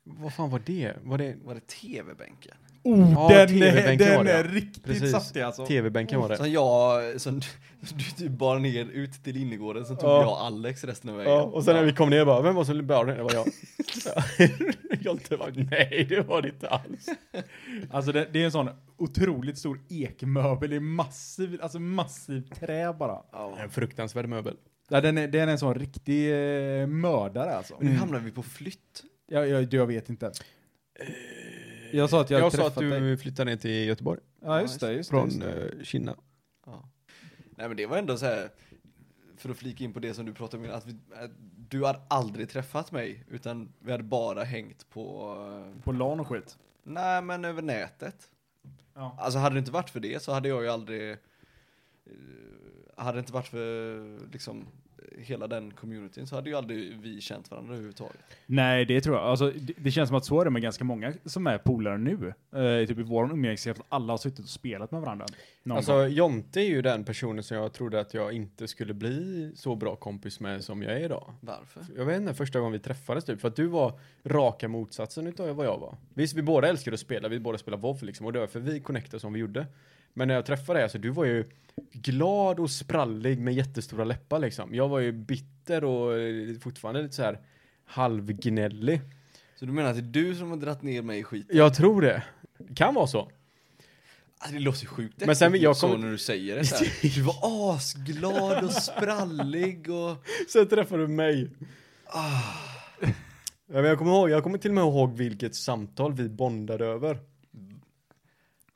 C: vad fan var det? Var det,
D: var det tv-bänken?
B: oh,
C: Ja,
B: den, är,
C: TV-bänken var
B: den
C: det,
B: är
C: ja.
B: riktigt
C: Precis.
B: saftig alltså.
C: tv-bänken var det?
D: Som jag, som du, som du typ bar ner ut till innergården, sen tog
C: Ja.
D: jag och Alex resten av vägen.
C: Ja, och sen när vi kom ner bara, vem var som bar den? Det var jag. Jonte bara, nej det var det inte alls.
B: Alltså det, det är en sån otroligt stor ekmöbel i massiv, alltså massiv trä bara.
D: Ja.
C: En fruktansvärd möbel.
B: Ja, den, är, den är en sån riktig eh, mördare alltså.
C: Mm.
D: Men nu hamnar vi på flytt.
B: Jag, jag, jag vet inte. Jag sa att jag,
C: Jag,
B: hade
C: sa
B: träffat
C: att du
B: dig.
C: flyttade ner till Göteborg
B: Ja, just det. Just det, just
C: från
B: det.
C: eh, Kina.
D: Ja. Nej men det var ändå så här, för att flika in på det som du pratade om, att, vi, att du har aldrig träffat mig, utan vi hade bara hängt på, eh,
B: På LAN och skit.
D: nej men över nätet.
B: Ja.
D: Alltså hade det inte varit för det så hade jag ju aldrig, eh, hade det inte varit för liksom hela den communityn så hade ju aldrig vi känt varandra överhuvudtaget.
B: Nej, det tror jag. Alltså, det, det känns som att så är det med ganska många som är polare nu. Eh, typ i vår umgängeskrets, alla har suttit och spelat med varandra. Någon gång.
C: Alltså Jonte är ju den personen som jag trodde att jag inte skulle bli så bra kompis med som jag är idag.
D: Varför?
C: Jag vet inte, första gången vi träffades typ, för att du var raka motsatsen utav vad jag var. Visst, vi båda älskade att spela, vi båda spelade WoW liksom, och det var för vi connectade som vi gjorde. Men när jag träffade dig, alltså du var ju glad och sprallig med jättestora läppar liksom. Jag var ju bitter och eh, fortfarande lite så här halvgnällig.
D: Så du menar att det är du som har dratt ner mig i skit?
C: Jag tror det. Det kan vara så.
D: Alltså det låter ju sjukt
C: Men sen vill jag
D: äckligt så
C: komma-
D: när du säger det så här. Du var asglad och sprallig och
C: Sen träffade du mig. Ah. Ja, men jag, kommer ihåg, jag kommer till och med ihåg vilket samtal vi bondade över.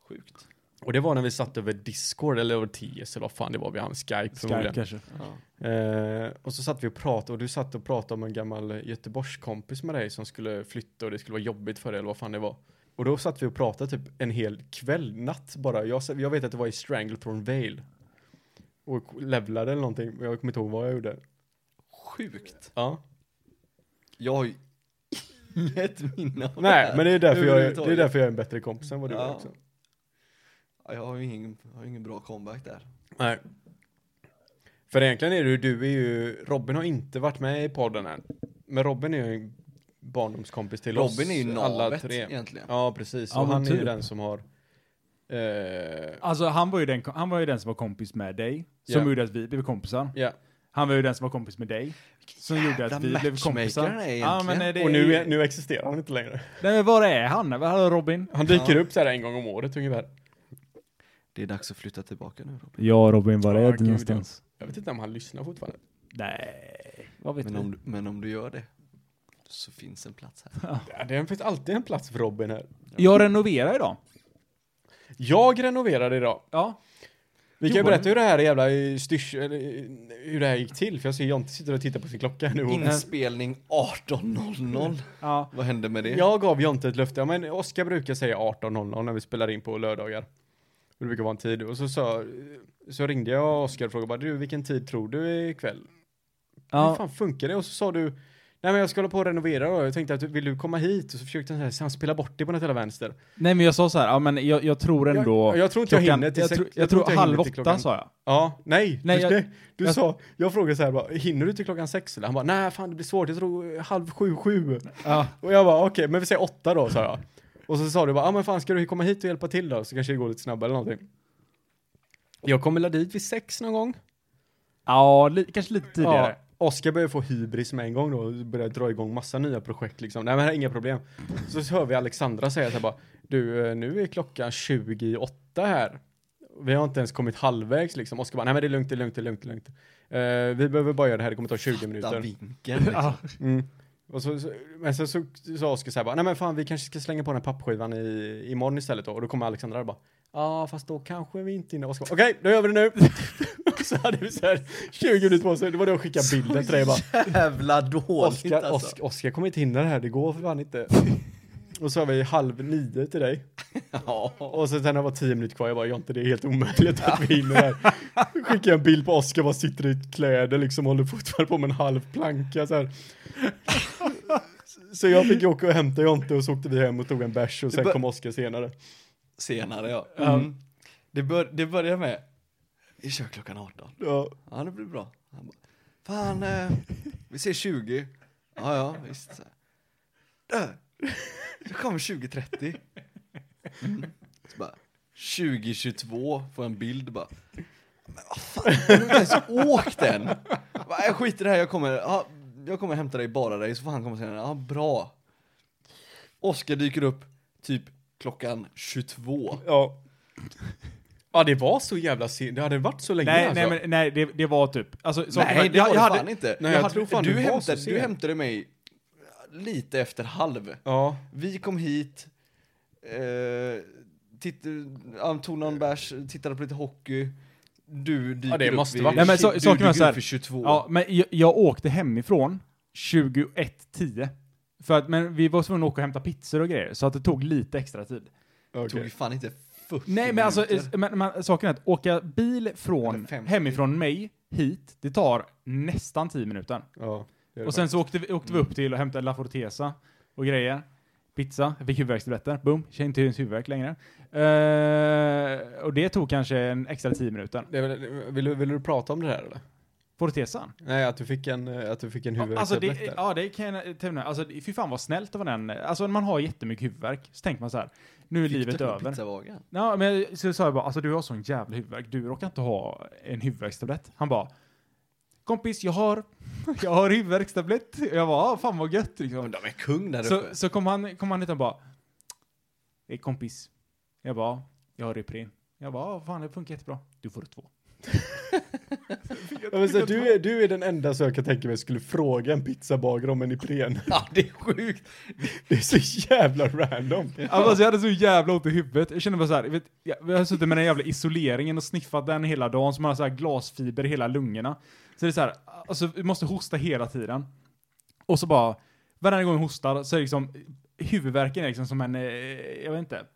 D: sjukt.
C: Och det var när vi satt över Discord eller över TS eller vad fan det var, vi hade en Skype
B: Skype
C: förmodligen.
B: kanske.
D: Ja.
C: Eh, och så satt vi och pratade och du satt och pratade om en gammal Göteborgskompis med dig som skulle flytta och det skulle vara jobbigt för dig eller vad fan det var. Och då satt vi och pratade typ en hel kväll, natt bara. Jag, sa- jag vet att det var i Stranglethorn Vale. Och levlade eller någonting, men jag kommer inte ihåg vad jag gjorde.
D: Sjukt.
C: Ja.
D: Jag har ju inget minne av det
C: Nej,
D: här
C: men det är, därför jag, är- det är
D: överhuvudtaget.
C: därför jag är en bättre kompis än vad du är
D: Ja.
C: också.
D: Ja, Jag har ju ingen, jag har ingen bra comeback där.
C: Nej. För egentligen är du, du är ju, Robin har inte varit med i podden än. Men Robin är ju en barndomskompis till oss.
D: Robin är ju
C: alla
D: navet
C: tre.
D: egentligen.
C: Ja, precis.
B: Ja,
C: och
B: men
C: han är ju
B: typ.
C: den som har... eh,
B: Alltså, han var, ju den, han var ju den som var kompis med dig, som
C: Ja.
B: gjorde att vi blev kompisar.
C: ja.
B: Han var ju den som var kompis med dig, som gjorde att vi
D: jävla
B: blev kompisar.
D: matchmaker han är
B: Ja, men
D: egentligen.
B: eh, det
C: Och nu, är- nu existerar han inte längre.
B: Nej, men var är han? Hallå Robin?
C: Han dyker upp så här en gång om året ungefär.
D: Det är dags att flytta tillbaka nu Robin.
B: Ja Robin, var
C: är Ja, du gud, någonstans? Jag vet inte om han lyssnar fortfarande.
B: Nej, vad vet
D: Men
B: du?
D: om, du- men om du gör det så finns en plats här.
C: Ja, Det finns alltid en plats för Robin här.
B: Jag renoverar idag.
C: Jag renoverade idag.
B: Ja.
C: Vi kan ju
B: Gjorde
C: berätta hur det här jävla eh, styrs, eller, eh, hur det här gick till, för jag ser Jonte sitter och tittar på sin klocka här nu. och-
D: Inspelning 18.00.
B: Ja.
D: Vad hände med det?
C: Jag gav Jonte ett löfte, ja, men Oskar brukar säga 18.00 när vi spelar in på lördagar. Det brukar vara en tid, och så, så, så ringde jag Oskar och frågade bara, du vilken tid tror du ikväll? Hur
B: ja.
C: fan funkar det? Och så sa du, nej men jag ska hålla på och renovera och jag tänkte att vill du komma hit? Och så försökte han, så här, så han spela bort det på något jävla vänster.
B: Nej men jag sa så här, ja, men jag, jag tror ändå...
C: jag, jag tror inte jag
B: klockan-
C: hinner till
B: jag,
C: sex-
B: tror- jag,
C: tror
B: tror
C: inte
B: halv
C: hinner till
B: åtta
C: klockan-
B: sa jag.
C: Ja, nej.
B: Nej,
C: du
B: jag-
C: nej, du
B: jag-
C: sa, jag frågade så här bara, hinner du till klockan sex? Eller han bara, nej fan det blir svårt, jag tror eh, halv sju, sju.
B: Ja.
C: Och jag bara, okej, men vi säger åtta då, sa jag. Och så sa du bara, ja ah, men fan ska du komma hit och hjälpa till då? Så kanske det går lite snabbare eller någonting. Jag kommer la dit vid sex någon gång.
B: Ja, li, kanske lite tidigare.
C: Ja, Oskar började få hybris med en gång då och började dra igång massa nya projekt liksom. Nej men här är inga problem. Så hör vi Alexandra säga så här bara, du eh, nu är klockan 28 här. Vi har inte ens kommit halvvägs liksom. Oskar bara, nej men det är lugnt, det är lugnt, det är lugnt, det är lugnt. Eh, vi behöver bara göra det här, det kommer ta 20
D: Fatta
C: minuter.
D: vinkeln liksom.
C: Mm. Och så, så, men sen så så sa Oskar så här bara, nej men fan vi kanske ska slänga på den här pappskivan i, imorgon istället då. Och då kommer Alexandra och bara, ja ah, fast då kanske vi inte hinner. Oskar bara, okej då gör vi det nu. Och så hade vi så här 20 minuter på oss, det var då jag skickade bilden till dig bara.
D: Jävla dåligt
C: Oskar,
D: alltså.
C: Oskar, Oskar kommer inte hinna det här, det går för fan inte. Och så har vi halv nio till dig.
D: Ja.
C: Och sen när det var tio minuter kvar, jag bara, inte det är helt omöjligt att vi hinner det här. Skickar jag en bild på Oskar, bara sitter i kläder liksom, håller fortfarande på med en halv planka så här. Så jag fick ju åka och hämta Jonte och så åkte vi hem och tog en bärs och sen
D: bör-
C: kom Oskar senare.
D: Senare ja. Mm. Det, bör, det börjar med, vi kör klockan 18.
C: Ja,
D: Ja, det blir bra. Han bara, fan, eh, vi ser 20. Ja, ja, visst. Så här. Du, det kommer 20.30. Mm. Så bara, 2022, får en bild bara. Men vad fan, har du inte ens åkt än? Jag bara, Jag skiter i det här, jag kommer, ja, jag kommer hämta dig, bara dig, så får han komma senare. Ja, bra. Oskar dyker upp typ klockan 22.
C: ja. Ja det var så jävla sent, det hade varit så länge
B: Nej,
C: alltså.
B: nej, men, nej det, det var typ... Alltså, saker-
D: Nej, det
B: jag-
D: var
B: jag
D: det
B: hade-
D: fan inte.
C: Nej, jag tror fan
D: du,
C: det var så
D: hämtade, du
C: sent.
D: hämtade mig lite efter halv.
C: Ja.
D: Vi kom hit, eh, titt, eh, tog någon bärs, tittade på lite hockey. Du dyker
C: det
D: upp
C: måste
D: vid-
C: vara-
B: Nej, men så-
D: du
B: saken är
D: dyker
B: så här.
D: upp vid 22.
B: Ja, men jag, jag åkte hemifrån 21.10. För att, men vi var tvungna att åka och hämta pizzor och grejer, så att det tog lite extra tid.
D: Det tog ju fan inte 40
B: Nej, men alltså,
D: minuter.
B: eh, men, men, saken är att åka bil från,
D: Eller 50.
B: hemifrån mig hit, det tar nästan 10 minuter.
C: ja det är det
B: Och sen så åkte vi, åkte vi upp till och hämtade La Fortesa och grejer. Pizza, jag fick huvudvärkstabletter, boom, känner inte ens huvudvärk längre. Eh, och det tog kanske en extra 10 minuter.
C: Det är väl, vill, du, vill du prata om det här eller?
B: Fortesan?
C: Nej, att du fick en, eh, att du fick en
B: Alltså
C: huvudvärkstablett
B: det,
C: där.
B: ja, det kan jag nämna. Alltså, det- fy fan vad snällt av den. Alltså när man har jättemycket huvudvärk så tänker man så här, nu är
D: Fick
B: livet
D: du en
B: över.
D: pizzavaga?
B: Ja, men så sa jag bara, alltså du har sån jävla huvudvärk, du råkar inte ha en huvudvärkstablett. Han bara, kompis jag har, jag har huvudvärkstablett. Jag bara, "Ah, fan vad gött liksom.
D: Men de är kung där
B: Så,
D: uppe.
B: så kom han, kom han hit och bara, "Hej kompis, jag bara, jag har Ipren. Jag bara, "Ah, fan det funkar jättebra. Du får två.
C: Ja, men så här, du, är, du är den enda som jag kan tänka mig skulle fråga en pizzabagare om en Ipren.
D: Ja, det är sjukt.
C: Det är så jävla random.
B: Alltså jag hade så jävla ont i huvudet. Jag kände bara såhär, vet, jag, jag har suttit med den jävla isoleringen och sniffat den hela dagen, så man har så här glasfiber i hela lungorna. Så det är såhär, alltså vi måste hosta hela tiden. Och så bara, varje gång jag hostar så är det liksom, huvudvärken är liksom som en, eh, jag vet inte,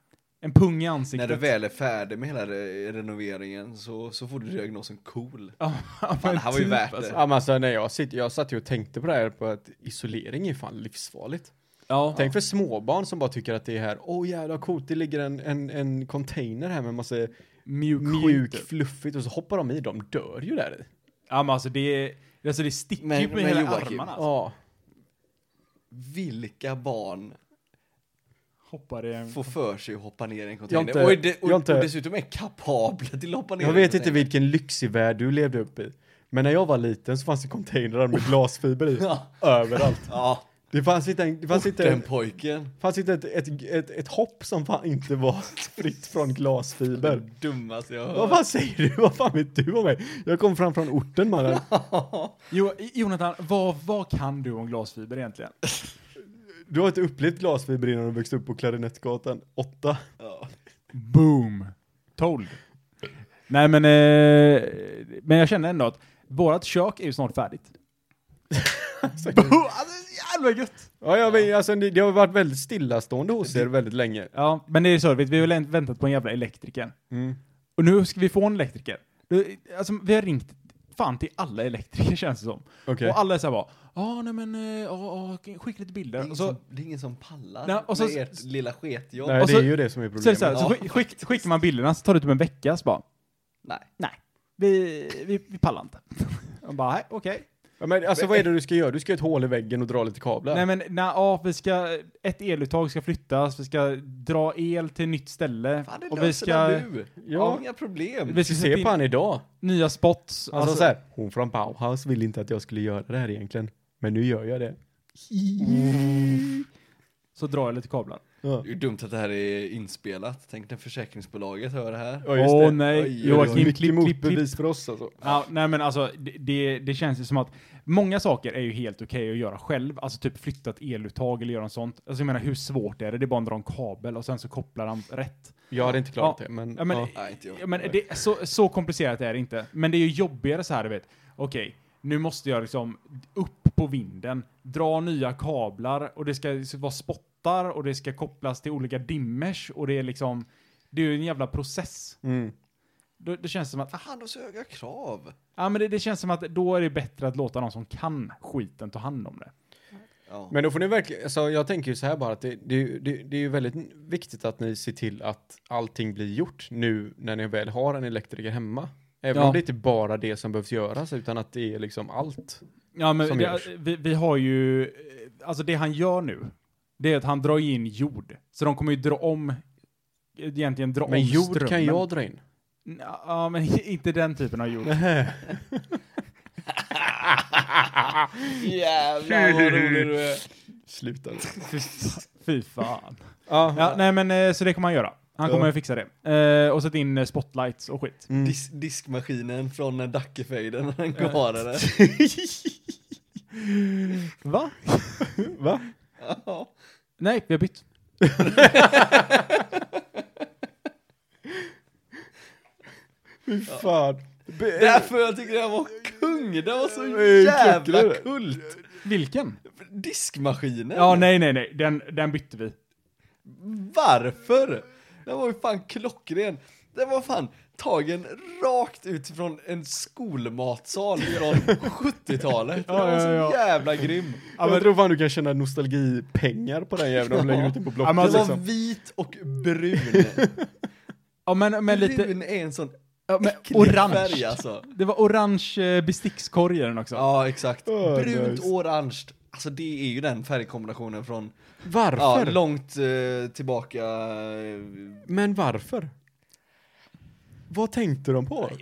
B: en pung i
D: När
B: ansiktet.
D: du väl är färdig med hela re- renoveringen så, så får du diagnosen cool.
B: Ja, typ.
D: Fan, det här var ju värt det.
C: Ja, men alltså, när jag, sitter, jag satt ju och tänkte på det här på att isolering är fan livsfarligt.
B: Ja.
C: Tänk för småbarn som bara tycker att det är här, åh jävla coolt, det ligger en, en, en container här med massa
B: Mjuk, skit,
C: mjuk,
B: typ.
C: fluffigt och så hoppar de i, de dör ju där i.
B: Ja men alltså det, alltså det sticker
D: Men-
B: ju på
D: men
B: hela
D: Joakim,
B: armarna. Alltså.
C: Ja.
D: Vilka barn
B: Hoppar i en...
D: får för sig att hoppa ner i en
C: Jag
D: container?
C: inte-
D: och, är de, och,
C: jag inte-
D: och dessutom är kapabla till att hoppa ner
C: Jag
D: i en
C: vet inte
D: container.
C: vilken lyxig värld du levde upp i. Men när jag var liten så fanns det containrar med glasfiber i.
D: Ja.
C: Överallt.
D: Ja,
C: Det fanns inte, en, det fanns inte,
D: den
C: en,
D: pojken.
C: fanns inte ett, ett, ett, ett hopp som fan inte var fritt från glasfiber.
D: Den dummaste jag har
C: Vad
D: hört.
C: fan säger du? Vad fan vet du om mig? Jag kom fram från orten mannen.
B: Jo, Jonathan, vad, vad kan du om glasfiber egentligen?
C: Du har inte upplevt glasfiber innan du växte upp på Klarinettgatan 8.
D: Ja.
B: Boom! Told. Nej men, eh, men jag känner ändå att vårat kök är ju snart färdigt. Boom! Alltså jävla gött!
C: Ja, jag vet, alltså, det, det har varit väldigt stillastående hos er väldigt länge.
B: Ja, men det är service. Vi har väl väntat på en jävla elektriker.
C: Mm.
B: Och nu ska vi få en elektriker. Du, Alltså, vi har ringt fan till alla elektriker känns det som.
C: Okej.
B: Och alla är såhär bara, ja nej men, eh, ja, ja, skicka lite
D: Det, är
B: bilder.
D: ingen
B: Och så,
D: som, det är ingen som pallar
B: Nej, och så-
D: med ert lilla sketjobb.
C: Nej,
B: och
C: det
B: så-
C: är ju det som är
B: så, är det
C: problemet.
B: så, här, så skick, skick, skickar man bilderna så tar det typ en vecka, så bara,
D: Nej.
B: nej, vi, vi, vi pallar inte. Och bara, nej, okej.
C: Ja, men, alltså, vad är det du ska göra? Du ska göra ett hål i väggen och dra lite kablar.
B: Nej men, nej, ja, vi ska, ett eluttag ska flyttas, vi ska dra el till nytt ställe.
D: Fan, det
B: och vi
D: löser ska...
B: ska,
D: du.
C: Ja.
D: Ja. Inga problem.
B: vi
C: Vi
B: ska
C: ser
B: sätta
C: på
B: in
C: han idag.
B: nya spots. Alltså,
C: Han sa så här, hon från Bauhaus ville inte att jag skulle göra det här egentligen. Men nu gör jag det.
B: så drar jag lite kablar.
C: Ja,
D: Det är ju dumt att det här är inspelat. Tänk när försäkringsbolaget hör det här.
C: ja
B: Åh nej,
D: Oj, oj, oj.
B: Joakim, klipp, klipp,
C: Mycket
B: klipp,
C: motbevis för oss alltså.
B: Ja, nej men alltså, det- det, det känns ju som att många saker är ju helt okej att göra själv. Alltså typ flytta ett eluttag eller göra något sånt. Alltså jag menar, hur svårt är det? Det är bara att dra en kabel och sen så kopplar han rätt.
C: Jag hade inte klarat
B: Ja.
C: det, men...
B: Ja, men,
C: ja.
D: Nej, inte jag.
B: ja, men det, så, så komplicerat är det inte. Men det är ju jobbigare så här, du vet. Okej, nu måste jag liksom upp på vinden, dra nya kablar och det ska liksom vara spottar och det ska kopplas till olika dimmers och det är liksom, det är ju en jävla process.
C: Mm.
B: Då, det känns som att, ah,
D: Fan, de har så höga krav.
B: Ja, men det, det känns som att då är det bättre att låta någon som kan skiten ta hand om det.
D: Ja.
C: Men då får ni verkligen, alltså jag tänker ju så här bara att det, det, är ju- det, det är ju väldigt viktigt att ni ser till att allting blir gjort nu när ni väl har en elektriker hemma. Även
B: Ja.
C: om det inte bara är det som behövs göras utan att det är liksom allt.
B: Ja, men
C: Som
B: det,
C: görs.
B: vi, vi har ju, eh, alltså det han gör nu, det är att han drar in jord. Så de kommer ju dra om, egentligen dra
C: Men
B: om
C: jord
B: strömmen.
C: kan jag dra in.
B: Ja, men inte den typen av jord.
D: Jävlar vad rolig du är.
C: Sluta nu.
B: Fy fa- Fy fan.
C: Ja,
B: Ja, nej men eh, så det kommer han göra. Han kommer att fixa det. Eh, och sätta in eh, spotlights och skit.
D: Dis diskmaskinen från eh, Dackefejden, den klarade det.
B: Va?
C: Va?
B: Nej, vi har bytt.
C: Fy fan. Be-
D: Därför jag tycker den var kung, den var så
C: är
D: jävla
C: klockren.
D: kult!
B: Vilken?
D: Diskmaskinen?
B: Ja, nej, nej, nej. Den, den bytte vi.
D: Varför? Den var ju fan klockren. Den var fan tagen rakt utifrån en skolmatsal från 70-talet. Den
B: Ja,
D: var så
B: ja, ja.
D: jävla grym.
C: jag tror fan du kan tjäna nostalgipengar på den jäveln om du lägger ut den på
B: Ja,
C: Blocket. liksom.
B: men
D: Den
B: alltså,
D: var vit och brun.
B: Ja, men, men lite...
D: Brun är en sån
B: Ja, men
D: äcklig färg
B: orange.
D: alltså.
B: Det var orange eh, bestickskorg i den också.
D: Ja, exakt.
C: Oh,
D: Brunt,
C: nice.
D: orange. Alltså det är ju den färgkombinationen från ja,
C: varför?
D: långt eh, tillbaka. eh,
C: men varför? Vad tänkte de på? Kan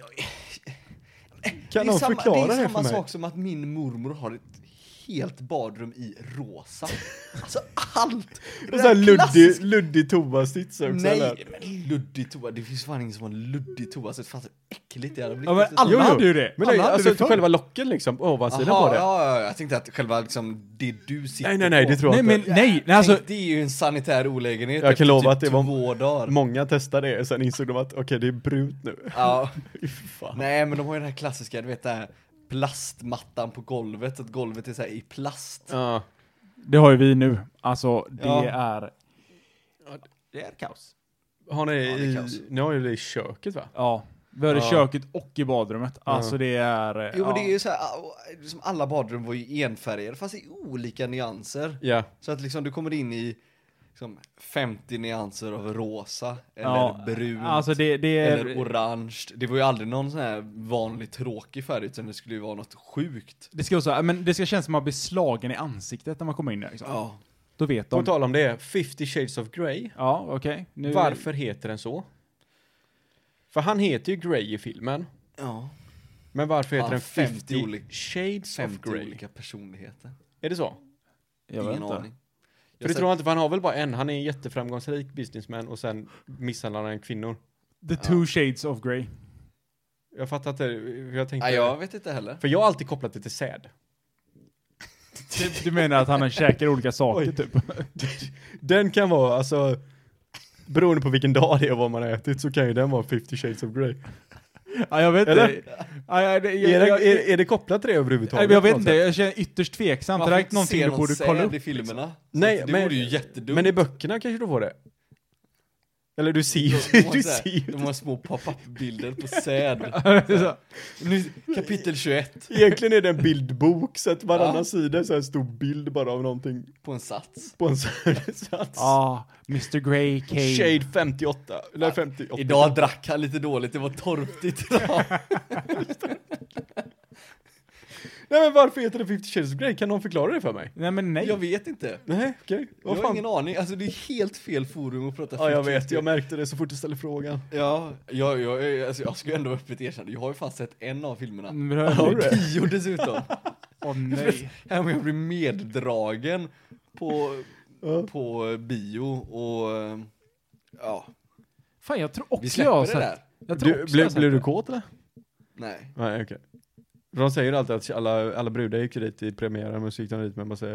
D: det är
C: någon
D: samma,
C: förklara
D: det
C: det, för
D: är samma
C: mig?
D: sak som att min mormor har ett helt badrum i rosa. Alltså allt!
C: Och så här
D: Den
C: luddig,
D: klassiska-
C: luddig toastitt också
D: Nej,
C: eller?
D: men luddig toa. Det finns fan ingen som har en luddig toa. Så det fanns äckligt det hade blivit.
B: Ja, men
D: efter ett
B: alla
D: tag.
C: jo.
B: hade ju det.
C: Men
B: alla
C: nej,
B: hade
C: alltså
B: det förr.
C: själva locken liksom, på ovansidan
D: Jaha,
C: på det.
D: Ja, ja, jag tänkte att själva liksom det du sitter
C: Nej, nej, nej, det
D: på.
C: tror
B: Nej,
C: jag
B: men
C: inte.
B: nej, nej alltså...
D: Tänk, det är ju en sanitär
C: Jag
D: olägenhet
C: kan
D: efter typ
C: lova att det var-
D: två dagar.
C: Många testade det, sen insåg de att okej, det är brunt nu.
D: Ja,
C: Fy fan.
D: nej men de har ju den här klassiska, du vet det här plastmattan på golvet, att golvet är så här i plast.
C: Ja.
B: Det har ju vi nu. Alltså, det
D: Ja.
B: är... Det är kaos.
C: Har ni
D: Ja, det är
C: i,
D: kaos.
C: ni har ju det i köket va?
B: Ja. Vi har det i
C: Ja.
B: köket och i badrummet. Alltså det är... eh,
D: Jo men det
B: ja.
D: är ju så här, ah, liksom alla badrum var ju enfärgade fast i olika nyanser.
C: Ja.
D: Så att liksom du kommer in i liksom 50 nyanser av rosa eller
B: Ja,
D: brunt.
B: Alltså det, det är...
D: Eller orange. Det var ju aldrig någon sån här vanlig tråkig färg utan det skulle ju vara något sjukt.
B: Det ska, vara så här, men det ska kännas som att man blir slagen i ansiktet när man kommer in där. Liksom.
D: Ja.
B: Då vet
C: På
B: de.
C: tal om det, 50 shades of Grey.
B: Ja, okej. Nu-
C: Varför heter den så? För han heter ju Grey i filmen.
D: Ja.
C: Men varför heter
D: Ja,
C: den
D: 50
C: 50,
D: olika-
C: shades
D: 50
C: of Grey?
D: olika personligheter.
C: Är det så?
B: Jag vet
D: Ingen
B: inte.
D: aning.
C: För det tror jag inte, för han har väl bara en. Han är en jätteframgångsrik businessman och sen misshandlar han kvinnor.
B: The two shades of grey.
C: Jag fattar inte hur jag tänkte.
D: Nej, jag vet inte heller.
C: För jag har alltid kopplat det till säd.
B: Du, du menar att han käkar olika saker
C: Oj.
B: typ?
C: Den kan vara, alltså, beroende på vilken dag det är och vad man har ätit så kan ju den vara 50 shades of Grey.
B: Ja, jag vet
C: Eller?
B: inte. Ja, ja, det- jag-
C: Är,
B: jag-
C: det, är, är det kopplat till det
B: Nej,
C: överhuvudtaget?
B: men jag vet
C: på något
B: inte,
C: sätt?
B: jag känner ytterst tveksamt. Det
D: får
B: där är
D: inte
B: någonting
D: se
B: du
D: någon
B: borde kolla
D: säd
B: upp. liksom.
D: i filmerna. Så
C: Nej,
D: att det
C: men-
D: vore ju jättedumt.
C: Men i böckerna kanske du får det? Eller du ser ju,
D: de, har
C: du
D: så här-
C: ser ju.
D: de har små pop-up-bilder på säd.
B: Så,
D: Nu- Kapitel 21
C: Egentligen är det en bildbok så att varannan
D: Ja.
C: sida är så här en stor bild bara av någonting
D: på en sats.
C: på en sån här sats.
B: ah, Mr Grey Cave.
C: Shade 58, eller 58.
D: Idag drack han lite dåligt, det var torftigt idag.
C: Nej men varför heter det 50 shades of Grey? Kan någon förklara det för mig?
B: Nej men nej.
D: Jag vet inte.
C: Nej, okej.
D: Jag
C: Vad
D: har
C: fan?
D: ingen aning, alltså det är helt fel forum att prata
C: Ja jag
D: fyrtio
C: vet, jag
D: till.
C: märkte det så fort du ställde frågan.
D: Ja, jag, jag, jag, alltså jag ska ju ändå öppet erkänna, jag har ju fan sett en av filmerna.
B: Men hör
C: Har
B: du?
C: du det?
D: Tio dessutom.
B: Åh nej.
D: Här men jag blir meddragen på,
C: Ja.
D: på bio och eh, ja,
B: Fan jag tror
D: vi
B: också jag har
D: släpper det
B: sett.
D: där.
B: Jag tror
C: Du,
B: också jag har
C: blev,
B: sett
C: blev du
B: det.
C: kåt eller?
D: Nej.
C: Nej okej. De säger alltid att alla, alla brudar gick ju dit i premiären men så gick de dit med en massa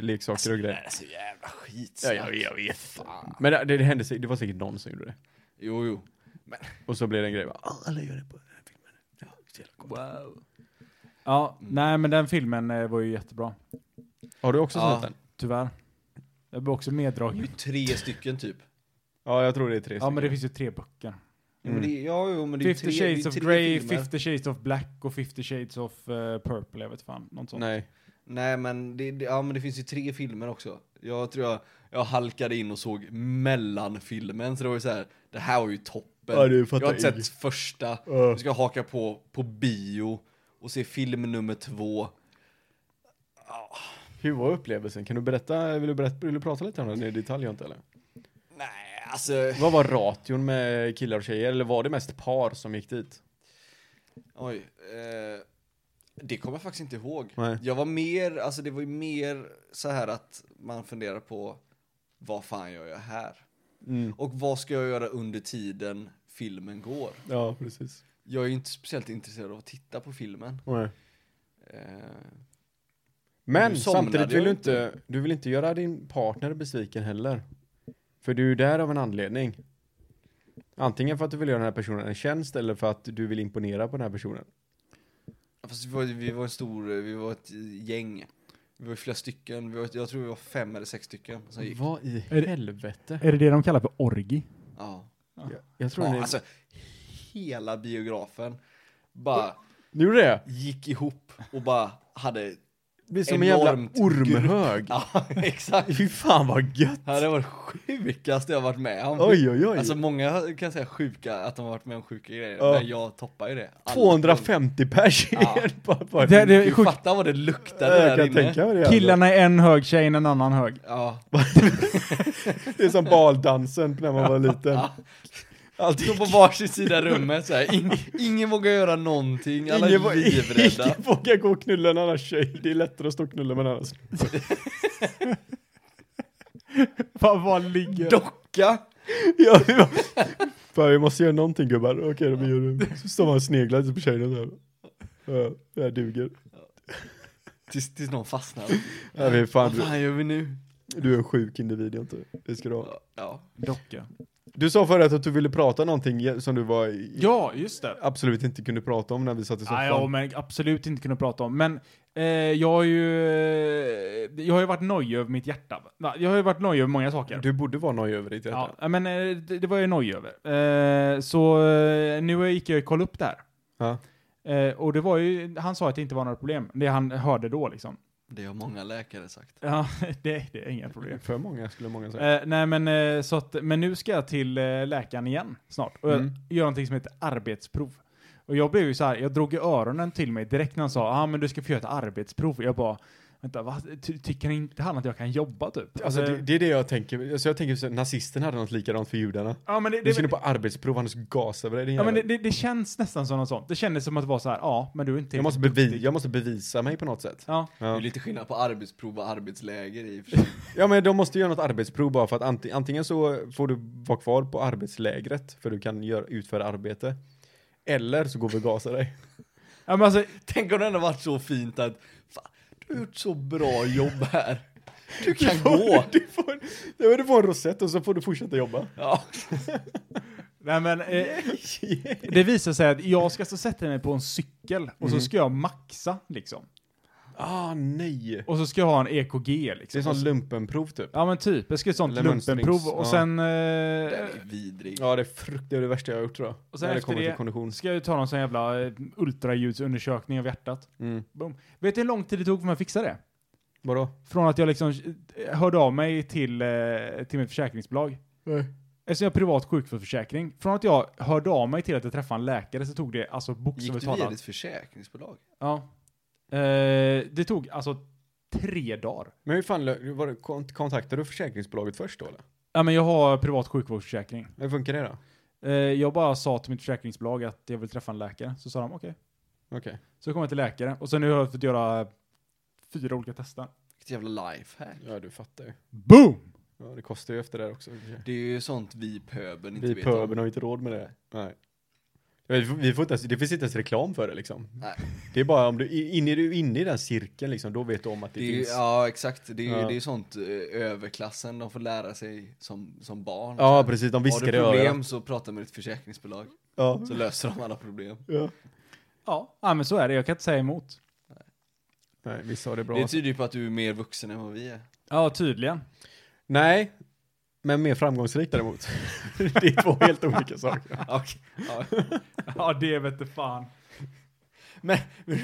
C: leksaker och
D: Det
C: grejer.
D: är så jävla skit.
C: Ja, jag, jag vet. Fan. Men det, det hände sig, det var säkert någon som gjorde det.
D: Jo, jo.
C: Och så blev det en grej va? "Ah, Alla gör det på den här filmen. Ja, så jävla coolt.
B: Ja, nej men den filmen eh, var ju jättebra.
C: Har du också
D: Ja.
C: sett den?
B: Tyvärr. Jag blev också
D: Det är
B: meddragen.
D: ju tre stycken typ.
C: Ja, jag tror det är tre
B: Ja men det
C: stycken.
B: finns ju tre böcker.
D: Ja, men det, ja, jo, men det är ju
B: 50
D: tre, det är ju
B: shades of
D: tre
B: grey,
D: filmer.
B: 50 shades of black och 50 shades of eh, purple, jag vet fan. Något sånt.
C: Nej.
D: Nej, men det, det, ja, men det finns ju tre filmer också. Jag tror jag, jag halkade in och såg mellanfilmen, så det var ju så här, det här var ju toppen.
C: Ja, det fattar
D: jag har inte
C: jag.
D: sett första, nu ska jag haka på på bio och se film nummer två.
C: Hur var upplevelsen? Kan du berätta, vill du, berätta, vill du prata lite om den i detalj inte eller?
D: Nej, alltså,
C: Vad var ration med killar och tjejer? Eller var det mest par som gick dit?
D: oj. Eh, det kommer jag faktiskt inte ihåg.
C: Nej.
D: Jag var mer, alltså det var ju mer så här att man funderar på vad fan gör jag här? Och vad ska jag göra under tiden filmen går?
C: Ja, precis.
D: Jag är ju inte speciellt intresserad av att titta på filmen. Eh,
C: Men
D: Nu somnade
C: samtidigt
D: jag
C: vill du
D: inte.
C: inte, du vill inte göra din partner besviken heller. För du är ju där av en anledning. Antingen för att du vill göra den här personen en tjänst eller för att du vill imponera på den här personen.
D: Fast vi var, vi var en stor, vi var ett gäng. Vi var flera stycken, vi var, jag tror vi var fem eller sex stycken som gick.
C: Vad i
B: Är det-
C: helvete?
B: Är det det de kallar för orgi?
D: Ja.
C: Jag, jag tror
D: ja
C: det.
D: alltså, hela biografen bara
C: Nu gjorde det?
D: gick ihop och bara hade...
C: Det blir som en jävla
D: Enormt
C: ormhög.
D: Ja, exakt.
C: Fy fan vad gött.
D: Det hade varit sjukaste jag varit med om.
C: Oj oj oj.
D: Alltså många kan säga sjuka, att de har varit med om sjuka grejer,
C: Ja.
D: men jag toppar ju det. Alla-
C: 250 pers i
D: Ja.
C: en. Bara- bara-
B: Det, det är
D: Du
B: sjukt.
D: fattar vad det luktade
C: Jag
D: där
C: kan
D: inne.
C: tänka mig det. alltså.
B: Killarna är en hög, tjejen en annan hög.
D: Ja.
C: Det är som baldansen när man var liten.
D: Ja.
C: Alltid.
D: Stå på varsin sida rummet så här. In, ingen vågar göra någonting, alla
C: Ingen, vå-
D: är livrädda.
C: ingen vågar gå och knulla en annan tjej. Det är lättare att stå och knulla med en annan.
B: Fan vad ligger?
D: Docka!
C: Ja, vi var... Fan, vi måste göra någonting gubbar. Okej, då vi gör det. Så står man och sneglar lite på tjejerna så här. Ja, det här duger.
D: Tills, tills någon fastnar.
C: Ja, vi är fan,
D: Vad fan gör vi nu?
C: du, du är en sjuk individ, jag inte. Det ska du ha.
D: Ja.
B: Docka.
C: Du sa förut att du ville prata någonting som du var i-
B: Ja, just det.
C: absolut inte kunde prata om när vi satt i soffan.
B: Nej, ja, men absolut inte kunna prata om. Men eh, jag har ju... eh, Jag har ju varit nojig över mitt hjärta. Va? Jag har ju varit nojig över många saker.
C: Du borde vara nöjd över ditt hjärta.
B: Ja, ja, men eh, det, det var jag ju nojig över. Eh, så eh, nu gick jag och kollade upp det här.
C: Ja.
B: Eh, och det var ju, han sa att det inte var några problem. Det han hörde då liksom.
D: Det har många läkare sagt.
B: Ja, det, det är inga problem.
C: För många skulle många säga.
B: Eh, nej men, eh, så att, men nu ska jag till eh, läkaren igen snart och
C: Mm.
B: jag gör någonting som heter arbetsprov. Och jag blev ju så här, jag drog i öronen till mig direkt när han sa ah, men du ska få göra ett arbetsprov. Jag bara, vänta va? Ty, tycker inte han att jag kan jobba typ?
C: Alltså det, det är det jag tänker. Alltså, jag tänker så att nazisterna hade något likadant för judarna.
B: ja, men det,
C: Du
B: det,
C: skulle på arbetsprov, annars gasar vi dig. din
B: ja, men det,
C: jävel.
B: det, det känns nästan som något sånt. Det kändes som att det var så här, ja men du är inte
C: Jag måste, bevi, jag måste bevisa mig på något sätt.
B: Ja,
D: Det är
C: Ja.
D: lite skillnad på arbetsprov och arbetsläger i och för sig.
C: ja men de måste göra något arbetsprov bara för att anti, antingen så får du vara kvar på arbetslägret för du kan göra, utföra arbete. Eller så går vi och gasar dig.
B: ja men alltså,
D: Tänk om det ändå varit så fint att, fan, du har gjort så bra jobb här. Du kan gå.
C: Du får, ja, men du får en rosett och så får du fortsätta jobba.
D: Ja.
B: nej men eh, det visar sig att jag ska så sätta mig på en cykel och så
C: Mm.
B: ska jag maxa liksom.
C: Ah nej.
B: Och så ska jag ha en EKG
C: Det
B: liksom.
C: är sånt lumpenprov typ.
B: Ja men typ, jag ska göra ett sånt
C: Eller
B: lumpenprov och
C: mönstrings-
B: sen,
D: Den
B: eh,
D: är vidrig.
C: Ja det är frukt, det är det värsta jag har gjort tror jag.
B: Och sen
C: När det
B: efter
C: kommer
B: det-
C: till kondition.
B: ska jag ju ta någon sån jävla eh, ultraljudsundersökning av hjärtat.
C: Mm.
B: Boom. Vet du hur lång tid det tog för mig att fixa det?
C: Vadå?
B: Från att jag liksom eh, hörde av mig till, eh, till mitt försäkringsbolag.
C: Nej.
B: Eftersom jag har privat sjukförsäkring. Från att jag hörde av mig till att jag träffade en läkare så tog det alltså
D: Gick du
B: bokstavligt
D: via
B: talat.
D: ditt försäkringsbolag?
B: Ja. Eh, det tog alltså tre dagar.
C: Men hur fan, lö- var det, kont- kontaktade du försäkringsbolaget först då eller?
B: Ja men jag har privat sjukvårdsförsäkring.
C: Hur funkar det då?
B: Eh, jag bara sa till mitt försäkringsbolag att jag vill träffa en läkare. Så sa de okej.
C: Okej.
B: Så kom jag till läkare och sen nu har jag fått göra fyra olika tester.
D: Vilket jävla lifehack.
C: Ja du fattar ju.
B: Boom!
C: Ja, det kostar ju efter det här också. i och för sig.
D: Det är ju sånt vi pöbeln inte
C: Vi
D: vet
C: pöbeln
D: om.
C: har ju inte råd med det. Nej. Vi får, vi får inte ens, det finns inte ens reklam för det liksom.
D: Nej.
C: Det är bara om du, in, är du inne i den cirkeln liksom, då vet du om att det,
D: Det är, ju-
C: finns.
D: ja exakt, det är ju
C: Ja.
D: det är sånt eh, överklassen de får lära sig som, som barn.
C: Ja, precis, de
D: Har
C: viskar i
D: du problem
C: öronen.
D: så prata med ditt försäkringsbolag.
C: Ja.
D: Så löser de alla problem.
C: Ja.
B: Ja, ja men så är det. Jag kan inte säga emot.
C: Nej, vi sa det bra.
D: Det
C: alltså.
D: tyder ju på att du är mer vuxen än vad vi är.
B: Ja, tydligen.
C: Nej, men mer framgångsrik däremot. det är två helt olika saker.
D: Okej. Ja.
B: Ja, det vet du fan.
D: Men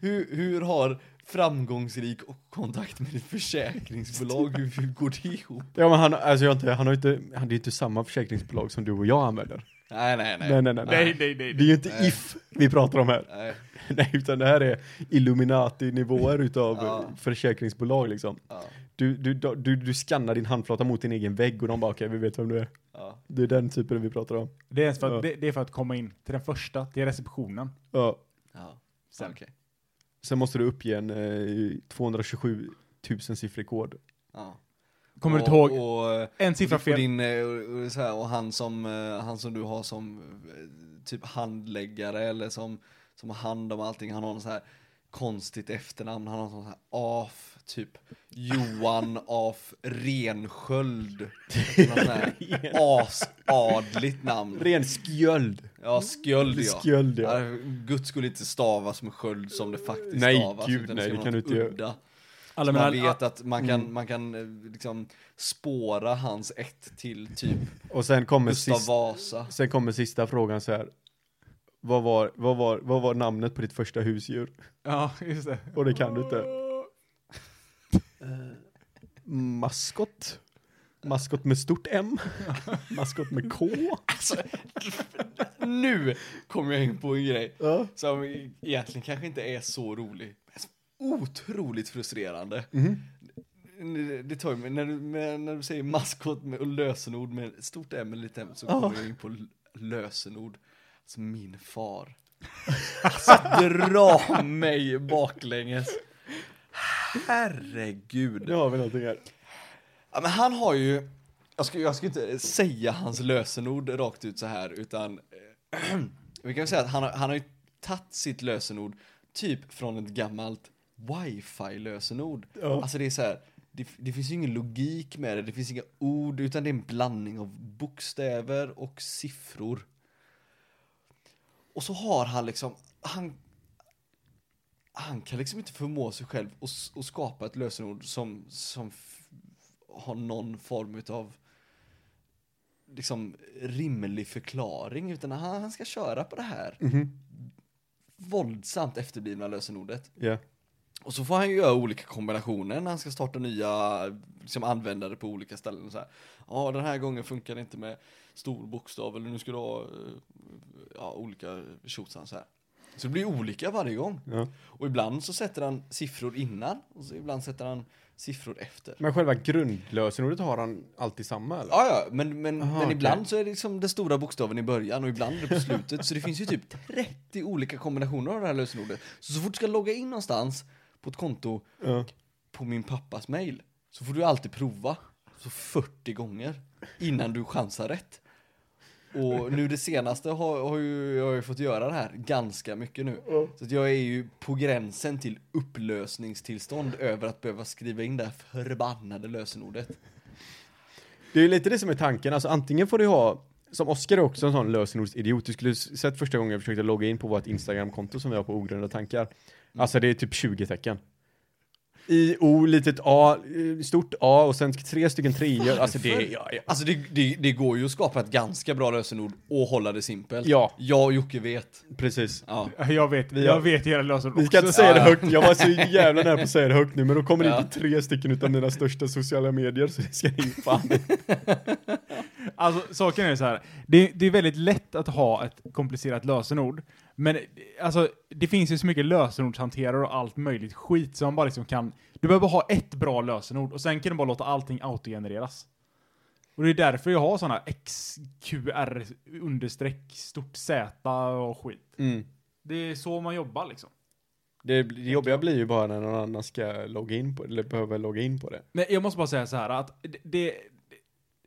D: hur, hur har framgångsrik och kontakt med ditt försäkringsbolag, hur, hur går det ihop?
C: Ja, men han, alltså, jag har inte, han har inte, han, det är inte samma försäkringsbolag som du och jag använder.
D: Nej, nej, nej.
C: Nej, nej, nej.
B: Nej, nej, nej.
C: Det är ju inte
D: Nej.
C: if vi pratar om här.
D: Nej,
C: Nej, utan det här är Illuminati-nivåer utav
D: Ja.
C: eh, försäkringsbolag liksom.
D: ja,
C: Du, du, du, du skannar din handflata mot din egen vägg och de bara okej, vi vet vem du är.
D: ja.
C: Det är den typen vi pratar om.
B: Det är, ens för att,
C: Ja.
B: det, det är för att komma in till den första, till receptionen.
C: Ja.
D: ja.
B: Sen.
D: Okej.
C: Sen måste du uppge en eh, 227 000-siffrig kod.
D: Ja.
B: Kommer du
D: och,
B: inte ihåg?
D: Och, eh,
B: en siffra
D: och du får
B: fel.
D: Din, eh, och, och, så här, och han som, eh, han som du har som eh, typ handläggare eller som, som har hand om allting, han har en så här konstigt efternamn. Han har sånt här af, typ Johan af Rensköld. Något sånt här asadligt namn.
C: Ren skjöld.
D: Ja, skjöld ja.
C: Skjöld, ja.
D: Ja, Gud skulle inte stavas med sköld som det faktiskt
C: Nej,
D: stavas.
C: gud,
D: utan
C: nej,
D: ska
C: det kan
D: vara
C: du inte
D: något
C: göra.
D: udda.
B: Alla men
D: man
B: han-
D: vet att
C: ah,
D: man
C: mm.
D: kan, man kan eh, liksom spåra hans ett till typ
C: Och sen kommer,
D: Gustav
C: sist,
D: Vasa.
C: sen kommer sista frågan så här. Vad var, vad, var, vad var namnet på ditt första husdjur?
B: Ja, just det.
C: Och det kan du inte. Maskot. Maskot med stort M. Maskot med K.
D: Nu kommer jag in på en grej som egentligen kanske inte är så rolig. Men så otroligt frustrerande. Det- Det tar ju mig, när du, men när du säger maskot med, och lösenord med ett stort M eller litet M så kommer jag in på l- lösenord. Alltså min far. Alltså dra mig baklänges. Herregud.
C: Nu har vi någonting här.
D: Ja, men han har ju, jag ska, jag ska inte säga hans lösenord rakt ut så här, utan eh, vi kan väl säga att han, har- han har ju tagit sitt lösenord typ från ett gammalt wifi-lösenord.
C: Ja.
D: Alltså det är så här, det, det finns ju ingen logik med det, det finns inga ord, utan det är en blandning av bokstäver och siffror. Och så har han liksom, han, han kan liksom inte förmå sig själv att, s- att skapa ett lösenord som, som f- har någon form av liksom rimlig förklaring utan han, han ska köra på det här våldsamt efterblivna lösenordet.
C: Ja.
D: Och så får han ju göra olika kombinationer när han ska starta nya liksom, användare på olika ställen. och Så här. Ja, den här gången funkar det inte med stor bokstav eller nu ska du ha eh, ja, olika tjosan så här. Så det blir olika varje gång.
C: Ja.
D: Och ibland så sätter han siffror innan och så ibland sätter han siffror efter.
C: Men själva grundlösenordet har han alltid samma eller?
D: Ja, ja, men, men,
C: Aha,
D: men
C: okej.
D: ibland så är det liksom den stora bokstaven i början och ibland är det på slutet. så det finns ju typ 30 olika kombinationer av det här lösenordet. Så, så fort du ska logga in någonstans på ett konto
C: Ja.
D: på min pappas mail så får du alltid prova så 40 gånger innan du chansar rätt. Och nu det senaste har, har ju, jag har ju fått göra det här ganska mycket nu. Så att jag är ju på gränsen till upplösningstillstånd över att behöva skriva in det här förbannade lösenordet.
C: Det är ju lite det som är tanken, alltså antingen får du ha som Oskar är också en sån lösenordsidiot. Du skulle s- sett första gången jag försökte logga in på vårt Instagramkonto som vi har på ogrundade tankar. Alltså det är typ 20 tecken. I O, litet A, eh, stort A och sen tre stycken treor. Alltså det är... Ja, ja.
D: Alltså det, det, det går ju att skapa ett ganska bra lösenord och hålla det simpelt.
C: Ja.
D: Jag och Jocke vet.
C: Precis.
D: Ja.
B: Jag vet,
C: Vi har-
B: jag vet era lösenord
C: Vi ska
B: också.
C: inte säga det
D: ja.
C: högt, jag var så jävla nära på att säga det högt nu men då kommer det
D: Ja.
C: inte tre stycken utav mina största sociala medier så det ska in fan.
B: Alltså saken är så här. Det, det är väldigt lätt att ha ett komplicerat lösenord. Men alltså, det finns ju så mycket lösenordshanterare och allt möjligt skit som man bara liksom kan... Du behöver ha ett bra lösenord och sen kan du bara låta allting autogenereras. Och det är därför jag har sådana XQR understreck stort Z och skit. Det är så man jobbar liksom.
C: Mm. Det, det jobbiga blir ju bara när någon annan ska logga in på eller behöver logga in på det.
B: Men jag måste bara säga så här att det, det...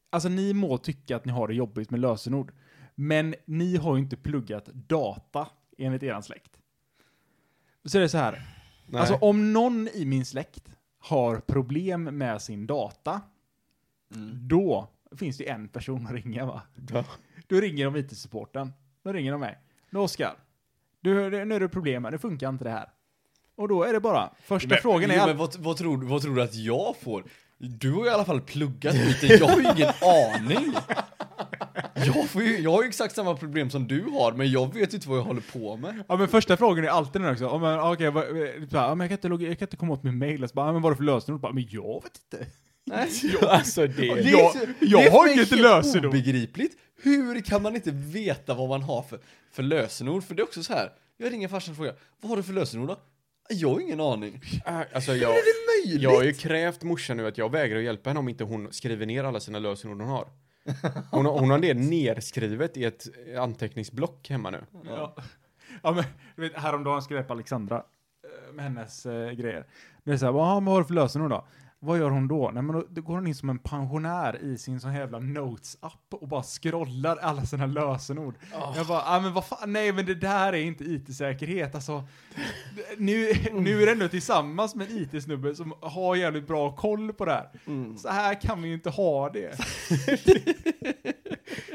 B: Alltså ni må tycka att ni har det jobbigt med lösenord. Men ni har ju inte pluggat data enligt eran släkt. Så det är så här.
C: Nej.
B: Alltså om någon i min släkt har problem med sin data. Då finns det en person att ringa va?
C: Ja.
B: Då ringer de IT-supporten. Då ringer de mig. Nu Oskar. Du, det- nu är det problem här. Det funkar inte det här. Och då är det bara. Första frågan är.
D: jo,
B: all-
D: men vad, vad, tror, du- vad tror du att jag får? Du har i alla fall pluggat lite, jag har ju ingen aning. Jag, får ju, jag har ju exakt samma problem som du har, men jag vet ju inte vad jag håller på med.
B: Ja men första frågan är alltid den också. Om man, okay, vad, eh, så här, ja, men jag, kan inte, logga- jag kan inte komma åt min mail. Och Så bara, ja, men vad är det för lösenord? Bara, men jag vet inte.
D: Nej.
C: Alltså det...
D: Det är
B: Jag-
D: så-
B: jag
D: det är
B: har
D: för mig
B: inget
D: helt
B: lösenord.
D: obegripligt. Hur kan man inte veta vad man har för, för lösenord? För det är också så här, jag ringer farsan och frågar, vad har du för lösenord då? Jag har ingen aning.
C: Ah, Alltså jag,
D: är möjligt?
C: jag har ju krävt morsan nu att jag vägrar att hjälpa henne om inte hon skriver ner alla sina lösenord hon har. Hon, har- hon har det nerskrivet i ett anteckningsblock hemma nu.
B: Ja. ja men du vet, häromdagen skrev jag på Alexandra eh, med hennes eh, grejer. Det är såhär, vad har du för lösenord då? Vad gör hon då? Nej, men då, då går hon in som en pensionär i sin sån här jävla notes-app och bara scrollar alla sina lösenord. Jag bara, ah, men vad fan, nej men det där är inte IT-säkerhet, alltså. Nu, nu är det ändå tillsammans med en IT-snubbe som har jävligt bra koll på det här. Så här kan vi ju inte ha det.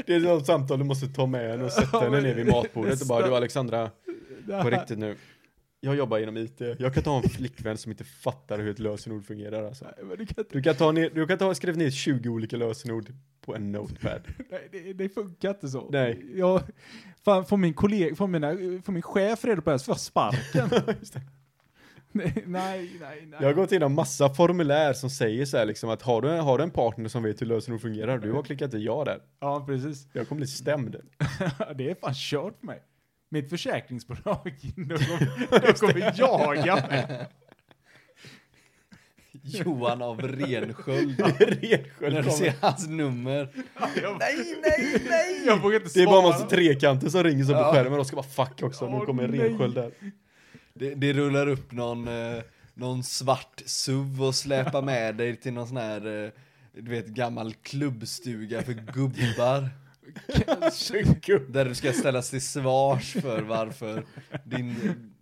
C: Det är något samtal du måste ta med henne och sätta henne ner vid matbordet och bara du Alexandra, på riktigt nu. Jag jobbar inom IT, jag kan ta en flickvän som inte fattar hur ett lösenord fungerar alltså.
B: Nej, men du kan inte,
C: Du kan ta, ner, du kan ta skriva ner 20 olika lösenord på en notepad.
B: nej, det, det funkar inte så.
C: Nej.
B: Jag, fan, får min kollega, får, mina, får min chef reda på det här så får jag sparken. nej, nej, nej. nej.
C: Jag har gått igenom massa formulär som säger så här liksom att har du, har du en partner som vet hur lösenord fungerar, du har klickat i ja där.
B: Ja, precis.
C: Jag kommer bli stämd.
B: det är fan kört för mig. Mitt försäkringsbolag, de kommer, de kommer jaga mig.
D: Johan av Rensköld.
C: Rensköld
D: När du
C: kommer.
D: ser hans nummer.
B: Jag-
D: Nej, nej, nej!
B: Jag vågar inte
C: Det är
B: svara.
C: bara en massa trekanter som ringer sig på
D: Ja.
C: skärmen och ska bara fuck också, nu
B: Åh,
C: kommer en
B: nej.
C: rensköld där.
D: Det, det rullar upp någon, eh, någon svart SUV och släpar med dig till någon sån här, eh, du vet, gammal klubbstuga för gubbar. Där du ska ställas till svars för varför din,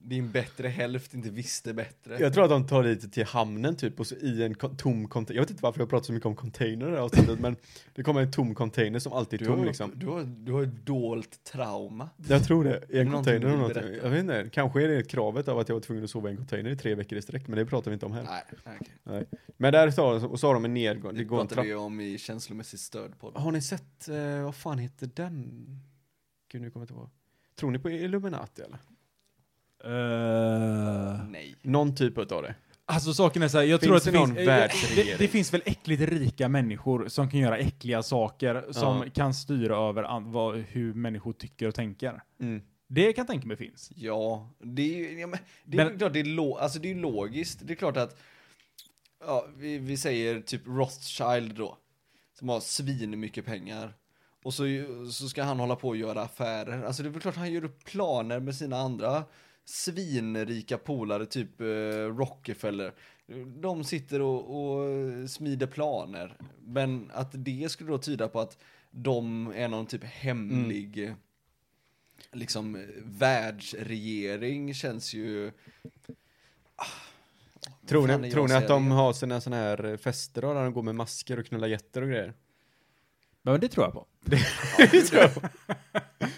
D: din bättre hälft inte visste bättre.
C: Jag tror att de tar dit till hamnen typ och så i en kon- tom container. Jag vet inte varför jag pratar så mycket om container i det här avsnittet men det kommer en tom container som alltid är
D: Du har,
C: tom liksom.
D: du, har, du har ett dolt trauma.
C: Jag tror det, i en
D: Någonting
C: container eller
D: du vill
C: någonting. Jag vet inte, kanske är det kravet av att jag var tvungen att sova i en container i tre veckor i sträck men det pratar vi inte om här.
D: Nej, okej.
C: Nej. Men där sa de, och så har de en nedgång, det
D: Det
C: går en
D: pratar
C: trapp.
D: vi om i känslomässigt stöd på
C: Har ni sett, eh, vad fan heter den? Gud nu kommer jag inte ihåg. Tror ni på Illuminati eller?
B: Eh,
D: Nej.
C: Någon typ utav det.
B: alltså saken är så här, jag
C: Finns
B: tror att
C: det
B: det,
C: någon
B: finns, eh,
C: världsregering?
B: det, det finns väl äckligt rika människor som kan göra äckliga saker som
C: Ja.
B: kan styra över an, vad, hur människor tycker och tänker.
C: Mm.
B: Det kan jag tänka mig finns.
D: Ja, det är ju ja, men, det är,
B: Men-
D: ju klart, det är, lo, alltså, det är ju logiskt. Det är klart att, ja, vi, vi säger typ Rothschild då, som har svin mycket pengar. Och så, ju- så ska han hålla på och göra affärer. Alltså det är väl klart han gör upp planer med sina andra svinrika polare, typ eh, Rockefeller. De sitter och, och smider planer. Men att det skulle då tyda på att de är någon typ hemlig
C: Mm.
D: liksom eh, världsregering känns ju... Ah.
C: Tror
D: Fan,
C: ni,
D: jag
C: tror ni
D: ser
C: att de
D: det.
C: har sina sådana här eh, fester då, där de går med masker och knullar getter och grejer?
B: Men det tror jag på.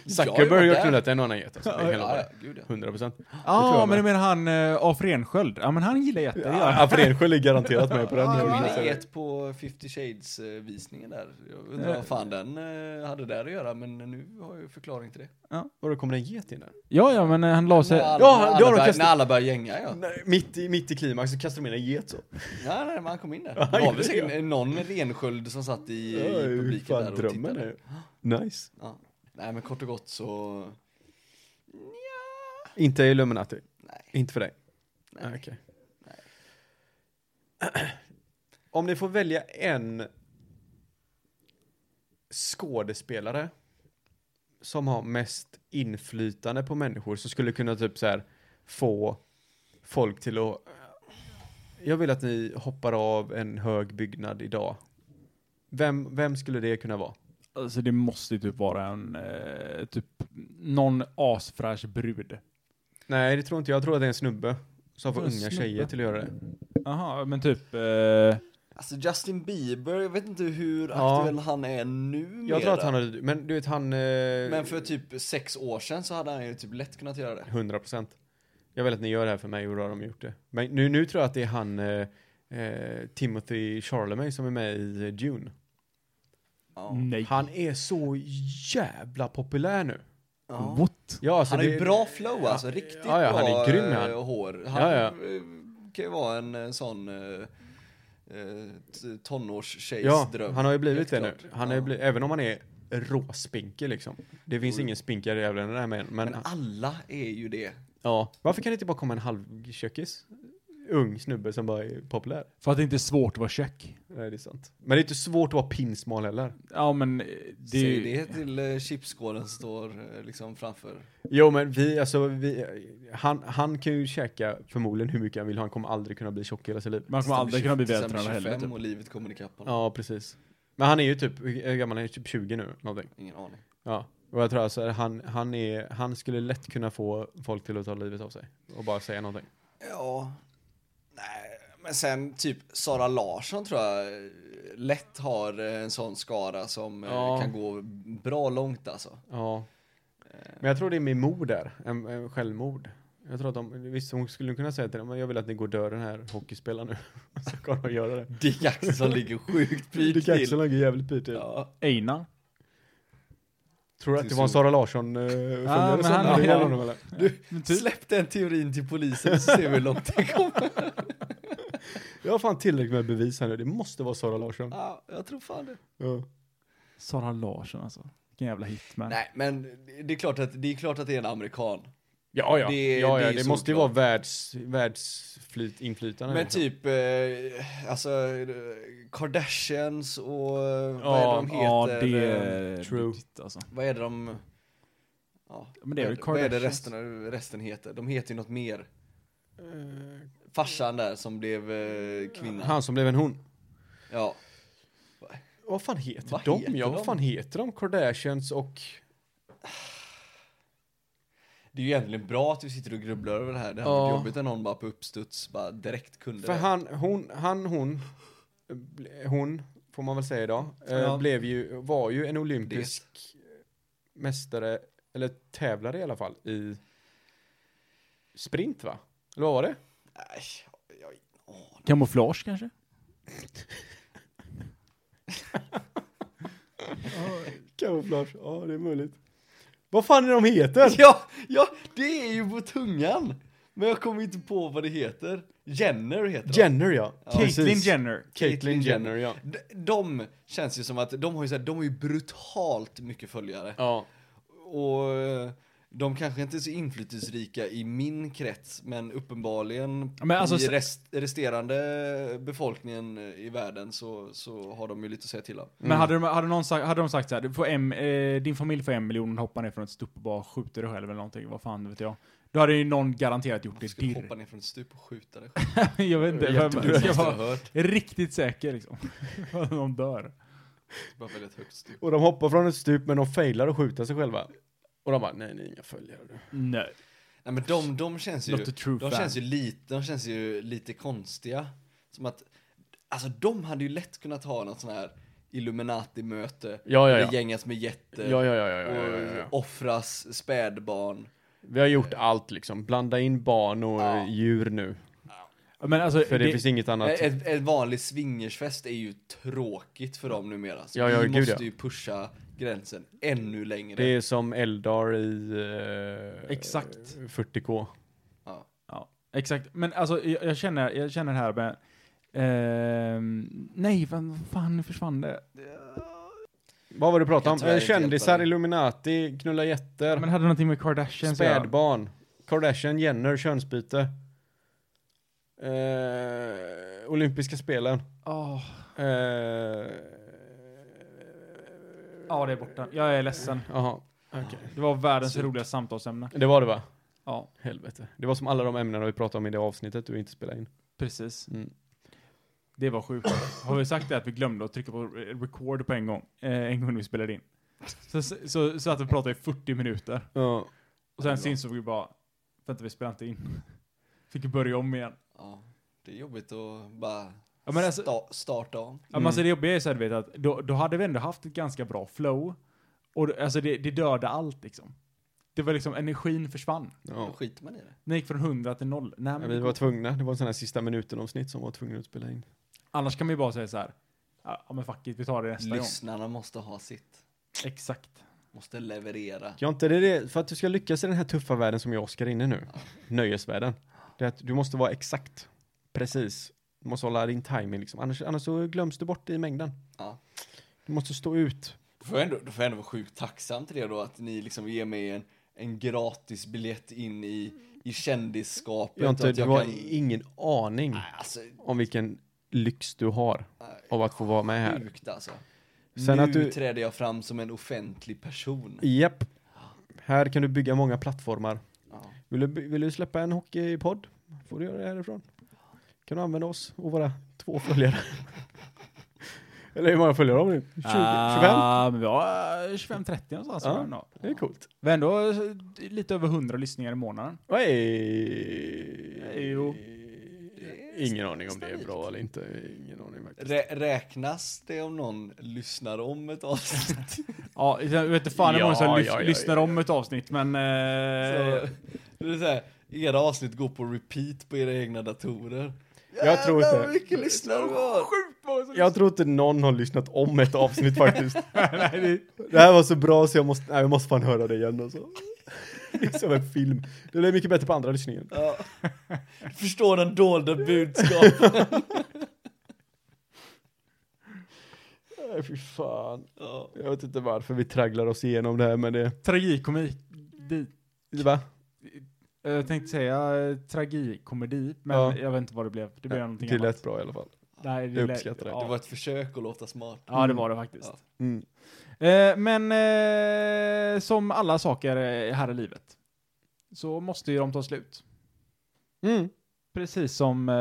C: Zuckerberg
D: varit
C: har
D: där.
C: knullat en annan get alltså. Det är helt
D: Ja, ja,
C: otroligt.
D: gud ja.
C: 100 procent.
B: Ja, men du menar han eh, af Rensköld? Ja, men han gillar jätte. det gör han.
C: Ja, för Rensjö ligger garanterat med på den.
D: Ja,
C: jag
D: jag
C: vill
D: var
C: säga.
D: ett på 50 Shades-visningen där. Jag undrar vad fan den eh, hade där att göra, men nu har jag ju förklaring till det.
C: Vadå, kommer det en get in där?
B: Ja, ja, men eh, han la sig...
D: När alla,
C: Ja,
D: när
C: då har
D: alla,
C: de Mm.
D: börjar,
C: kastat-
D: när alla börjar gänga, ja.
C: Nej, mitt, i, mitt i klimax så kastar de in en get så.
D: Nej, nej, men han kom in där.
C: Ja,
D: Det var
C: gjorde
D: väl säkert
C: det.
D: en- någon rensköld som satt i,
C: Ja,
D: i
C: hur
D: publiken
C: fan
D: där och
C: drömmen
D: tittade.
C: är. Nice.
D: Ja. Nej, men kort och gott så...
C: Inte Illuminati?
D: Nej.
C: Inte för dig?
D: Nej.
C: Ah, okej. Om ni får välja en skådespelare som har mest inflytande på människor så skulle kunna typ så här få folk till att jag vill att ni hoppar av en hög byggnad idag. Vem, vem skulle det kunna vara?
B: Alltså det måste ju typ vara en, eh, typ någon asfräsch brud.
C: Nej, det tror inte jag. Jag tror att det är en snubbe som får
B: En
C: unga
B: snubbe.
C: tjejer till att göra det.
B: Jaha, men typ... Eh,
D: Alltså Justin Bieber, jag vet inte hur
C: Ja.
D: aktuell han är nu
C: Jag tror att han hade, men du vet han... eh,
D: Men för typ sex år sedan så hade han ju typ lätt kunnat göra det.
C: 100 procent. Jag vill att ni gör det här för mig och då har de gjort det. Men nu, nu tror jag att det är han eh, eh, Timothy Charlemagne som är med i eh, Dune.
D: Ja.
B: nej.
C: Han är så jävla populär nu.
D: Ja.
B: What?
C: Ja, alltså
D: han har ju
C: det-
D: bra flow alltså, riktigt
C: ja, ja,
D: bra
C: han är grym,
D: eh,
C: han.
D: hår. Han
C: Ja, ja.
D: eh, kan ju vara en eh, sån eh, eh, t- tonårstjejs
C: Ja,
D: dröm.
C: han har ju blivit det
D: Helt
C: nu.
D: klart.
C: Han är ju
D: Ja.
C: blivit, även om han är råspinkig liksom. Det finns ingen spinkigare jävel än den här men, men
D: Men alla är ju det.
C: ja. Varför kan det inte bara komma en halvkökis? Ung snubbe som bara är populär.
B: För att det inte är svårt att vara check.
C: Nej, det är sant. Men det är inte svårt att vara pinsmal heller.
B: Ja, men eh, det är
D: Säg
B: ju...
D: det till eh, chipsskålen står eh, liksom framför.
C: Jo men vi, alltså vi, han, han kan ju käka förmodligen hur mycket han vill, han kommer aldrig kunna bli tjock i hela sitt liv.
B: Man kommer aldrig kunna bli
D: Sen
B: vältränad heller.
D: 25
B: Typ.
D: och livet kommer ikapp honom.
C: Ja, precis. Men han är ju typ, hur gammal är han? Typ 20 nu, någonting.
D: Ingen aning.
C: Ja. Och jag tror alltså att han, han, är, han skulle lätt kunna få folk till att ta livet av sig och bara säga någonting.
D: Ja. Nej, men sen typ Sara Larsson tror jag eh, lätt har eh, en sån skara som eh,
C: Ja.
D: kan gå bra långt alltså.
C: Ja. Men jag tror det är med mord där, en, en självmord. Jag tror att de, visst hon skulle kunna säga till dem, "Men jag vill att ni går och dör den här hockeyspelaren nu. Så kan de göra det.
D: Dick Axelsson ligger sjukt pyrt
C: Dick
D: till.
C: Axelsson ligger jävligt pyrt till.
D: Ja.
B: Einar.
C: Tror du att det var en Sara Larsson-följare
B: Ja, men
C: som
B: han-
C: hade
B: han-
C: honom eller?
B: Typ.
D: Släpp den teorin till polisen så ser vi hur långt det kommer.
C: Jag har fan tillräckligt med bevis här nu, det måste vara Sara Larsson.
D: Ja, jag tror fan det.
C: Ja.
B: Sara Larsson alltså. Vilken jävla hitman.
D: Nej, men det är klart att det är, klart att det är en amerikan.
C: Ja, ja.
D: Det-
C: ja,
D: det
C: ja.
D: är
C: Det, måste ju
D: såklart.
C: vara världs, världsflyt, inflytande.
D: Men
C: liksom.
D: typ, eh, alltså, eh, Kardashians och eh, vad är det de
B: ja,
D: heter?
B: det
D: Eh,
B: är
C: True.
B: ditt, Alltså.
D: Vad är det de... Ja,
B: Men det är
D: vad,
B: väl
D: vad är det
B: Kardashians.
D: resten, resten heter? De heter ju något mer.
C: Eh,
D: Farsan där som blev eh, kvinna.
C: Han som blev en hon.
D: Ja,
C: Vad fan heter
D: Vad
C: de?
D: heter
C: ja, vad
D: de?
C: fan heter de? Kardashians och...
D: det är ju egentligen bra att vi sitter och grubblar över det här. Det hade
C: Ja.
D: varit jobbigt om någon bara på uppstuds bara direkt kunde
C: För
D: det.
C: han, hon, han, hon, ble- hon, får man väl säga idag, eh,
D: Ja.
C: blev ju, var ju en olympisk mästare, eller tävlare i alla fall, i sprint va? Eller vad var det?
D: Nej, jag, åh,
B: Kamouflage kanske?
C: Kamouflage, ja det är möjligt. Vad fan är de heter?
D: Ja, ja, det är ju på tungan. Men jag kommer inte på vad det heter. Jenner heter de.
C: Jenner ja.
B: Caitlyn
C: Precis.
B: Jenner.
C: Caitlyn Jenner ja.
D: D- De känns ju som att de har ju, så här, de har ju brutalt mycket följare.
C: Ja.
D: Och eh, de kanske inte är så inflytelserika i min krets, men uppenbarligen
B: Ja, men alltså-
D: i rest, resterande befolkningen i världen så, så har de ju lite att säga till om.
B: Men hade de, hade, någon sagt, hade de sagt så här, du får en, eh, din familj får en miljon, hoppa ner från ett stup och bara skjuter dig själv eller någonting, vad fan vet jag. Då hade ju någon garanterat gjort
D: Du
B: det
D: skulle
B: dirr.
D: hoppa ner från ett stup och skjuta dig
B: jag vet inte, jag,
D: själv.
B: jag
D: Jag har
B: var
D: hört.
B: riktigt säker liksom. de dör.
D: Bara välja ett högt stup.
C: Och de hoppar från ett stup men de failar och skjuter sig själva. Och de bara, nej ni är inga följare.
B: Nej.
D: Nej men de, de känns ju,
B: Not a true
D: Typ. de
B: fan.
D: känns ju lite, de känns ju lite konstiga. Som att, alltså de hade ju lätt kunnat ha något sån här Illuminati-möte.
C: Ja, ja, ja.
D: Där gängas med jätter.
C: Ja, ja, ja, ja, ja,
D: och
C: ja, ja, ja.
D: offras spädbarn.
C: Vi har gjort allt liksom. Blanda in barn och
D: Ja.
C: eh, djur nu.
B: Men alltså,
C: För det,
B: det-
C: finns inget annat.
D: Ett, ett vanligt swingersfest är ju tråkigt för dem numera. Så
C: Ja, ja,
D: vi
C: gud,
D: måste
C: ja.
D: ju pusha gränsen ännu längre.
C: det är som Eldar i... eh,
B: Exakt.
C: 40K.
D: Ja.
B: Ja, exakt. Men alltså, jag, jag, känner, jag känner här med... ehm, nej, vad fan, nu försvann det.
C: Vad var det du
D: Jag
C: pratade
D: kan
C: om? Eh,
D: tyvärr inte hjälpa
C: Kändisar,
D: dig.
C: Illuminati, knulla jätter,
B: Men hade någonting med Kardashians att göra?
C: spädbarn, Kardashian, Jenner, könsbyte. Eh, olympiska spelen.
B: Åh,
C: Eh,
B: Ja, det är borta. Jag är ledsen.
C: Jaha, okej.
B: Det var världens roligaste samtalsämne.
C: Det var det va?
B: Ja,
C: Helvete. Det var som alla de ämnena vi pratade om i det avsnittet du inte spelade in.
B: precis.
C: Mm.
B: Det var sjukt. Har vi sagt det att vi glömde att trycka på re- record på en gång? Eh, en gång när vi spelade in. Så, så, så, så att vi pratade i 40 minuter.
C: Ja.
B: Och sen syns vi bara, vänta vi spelade inte in. Fick börja om igen.
D: Ja, det är jobbigt att bara
B: Ja, men alltså-
D: sta, starta om.
B: Ja, men alltså det jobbiga är så här, du vet att då, då hade vi ändå haft ett ganska bra flow. Och då- alltså det, det dödade allt liksom. Det var liksom, energin försvann.
D: Då
C: ja.
D: skiter man i det.
B: Den gick från 100 till 0. Nej,
C: Ja,
B: men
C: vi var tvungna. Det var en sån här sista minuten-avsnitt som var tvungna att spela in.
B: Annars kan man ju bara säga så här. Ja men fuck it, vi tar det nästa
D: Lyssnarna måste ha sitt.
B: gång. Exakt.
D: Måste leverera.
C: Ja, inte det, det för att du ska lyckas i den här tuffa världen som jag och Oskar är inne nu, nöjesvärlden, det är att du måste vara exakt, precis. Du måste hålla din timing liksom, annars, annars så glöms du bort i mängden.
D: Ja.
C: Du måste stå ut.
D: Då får jag ändå, då får jag ändå vara sjukt tacksam till det då att ni liksom ger mig en, en gratis biljett in i, i kändisskapet.
C: Jag har
D: och
C: inte,
D: att
C: du
D: jag
C: har
D: kan-
C: ingen aning
D: Nej, alltså,
C: om vilken lyx du har
D: nej,
C: av att få vara med här.
D: sjukt alltså.
C: Sen
D: nu
C: att du-
D: träder jag fram som en offentlig person.
C: Japp. Här kan du bygga många plattformar.
D: Ja.
C: Vill du, by- vill du släppa en hockeypodd? Får du göra det härifrån. Kan du använda oss och våra två följare? Eller hur många följare har vi nu? 20, 25?
B: Ah, men vi har eh, 25-30 någonstans.
C: Ja.
B: Ja.
C: Det är coolt.
B: Vi har ändå eh, lite över 100 lyssningar i månaden.
C: Oj.
B: Jo.
C: Ingen aning om det är bra eller inte. Ingen aning faktiskt.
D: Rä räknas det om någon lyssnar om ett avsnitt?
B: Ja, jag vet inte fan hur många som
C: Ja,
B: lys-
C: ja, ja,
B: lyssnar
C: ja.
B: om ett avsnitt, men... Eh,
D: Så, det är så här, era avsnitt går på repeat på era egna datorer.
C: Jag tror
D: Jävlar,
C: inte.
D: vad mycket lyssnar de har.
C: Jag tror inte någon har lyssnat om ett avsnitt faktiskt. Det här var så bra så jag måste, nej, jag måste fan höra det igen alltså. Det är som en film. Det blir mycket bättre på andra lyssningen.
D: Ja. Förstår den dolda budskapen.
C: Nej fy fan.
D: Ja.
C: Jag vet inte varför vi tragglar oss igenom det här men det,
B: tragikomik. Di-
C: va?
B: Jag tänkte säga eh, tragikomedi, men
C: Ja.
B: jag vet inte vad det blev. Det blev någonting
C: det
B: annat.
C: lät bra i alla fall.
B: Nej,
C: Jag
B: lät-
C: uppskattar det.
B: Ja.
D: Det var ett försök att låta smart.
B: Ja, det var det faktiskt.
D: Ja.
C: Mm.
B: Eh, men eh, som alla saker eh, här i livet så måste ju de ta slut.
C: Mm.
B: Precis som eh,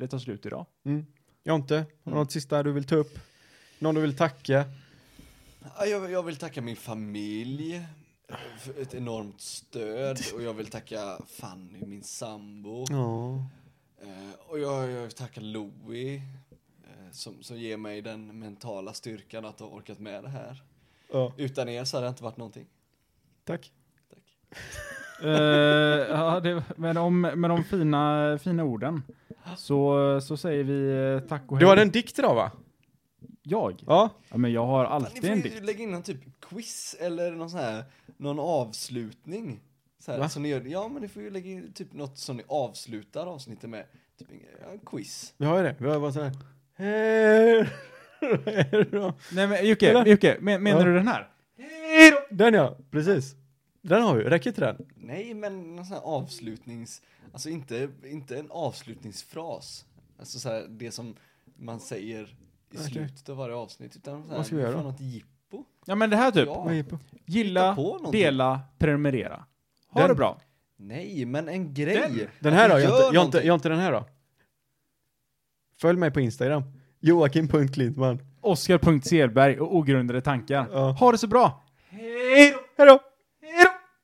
B: det tar slut idag.
C: Mm. Jonte, har du något sista du vill ta upp? Någon du vill tacka?
D: Ja, Jag, jag vill tacka min familj för ett enormt stöd och jag vill tacka Fanny, min sambo.
C: Ja.
D: Eh, och jag, jag tackar Louie eh, som, som ger mig den mentala styrkan att ha orkat med det här.
C: ja.
D: Utan er så hade det inte varit någonting.
C: Tack.
D: Tack.
B: Eh, ja, det, med, de, med de fina, fina orden så, så säger vi eh, tack och hej.
C: Du hade en dikt idag va?
B: Jag?
C: Ja.
B: Ja, men jag har
D: Fan,
B: alltid en
D: Ni får ju
B: dikt.
D: lägga in någon typ quiz eller någon sån här, någon avslutning. Så här,
C: Va?
D: som ni gör, ja men ni får ju lägga in typ något som ni avslutar avsnittet med. Typ en ja, en quiz.
C: Vi har ju det. Vi har ju bara sån här. Hej.
B: Nej men Jocke,
C: Eller?
B: Jocke men, menar
C: Ja.
B: du den här?
C: Den ja, precis. Den har vi, räcker inte den?
D: Nej men någon sån här avslutnings, alltså inte, inte en avslutningsfras. Alltså så här, det som man säger i
C: Okej.
D: slutet av varje avsnitt. Utan så här,
C: Vad ska vi
D: ni
C: göra
D: får
C: då?
D: något jippo.
B: Ja men det här typ.
D: Ja.
C: Vad är på?
B: Gilla,
D: hitta på någonting.
B: dela, prenumerera. Ha
C: Den-
B: det bra.
D: Nej men en grej.
B: Den-
C: Den här då?
D: Att ni gör
C: Jag har inte,
D: någonting.
C: jag har inte den här då? Följ mig på Instagram. Joakim.Klintman.
B: Oskar.Selberg och ogrundade tankar.
C: Ja.
B: Ha det så bra.
C: Hej då!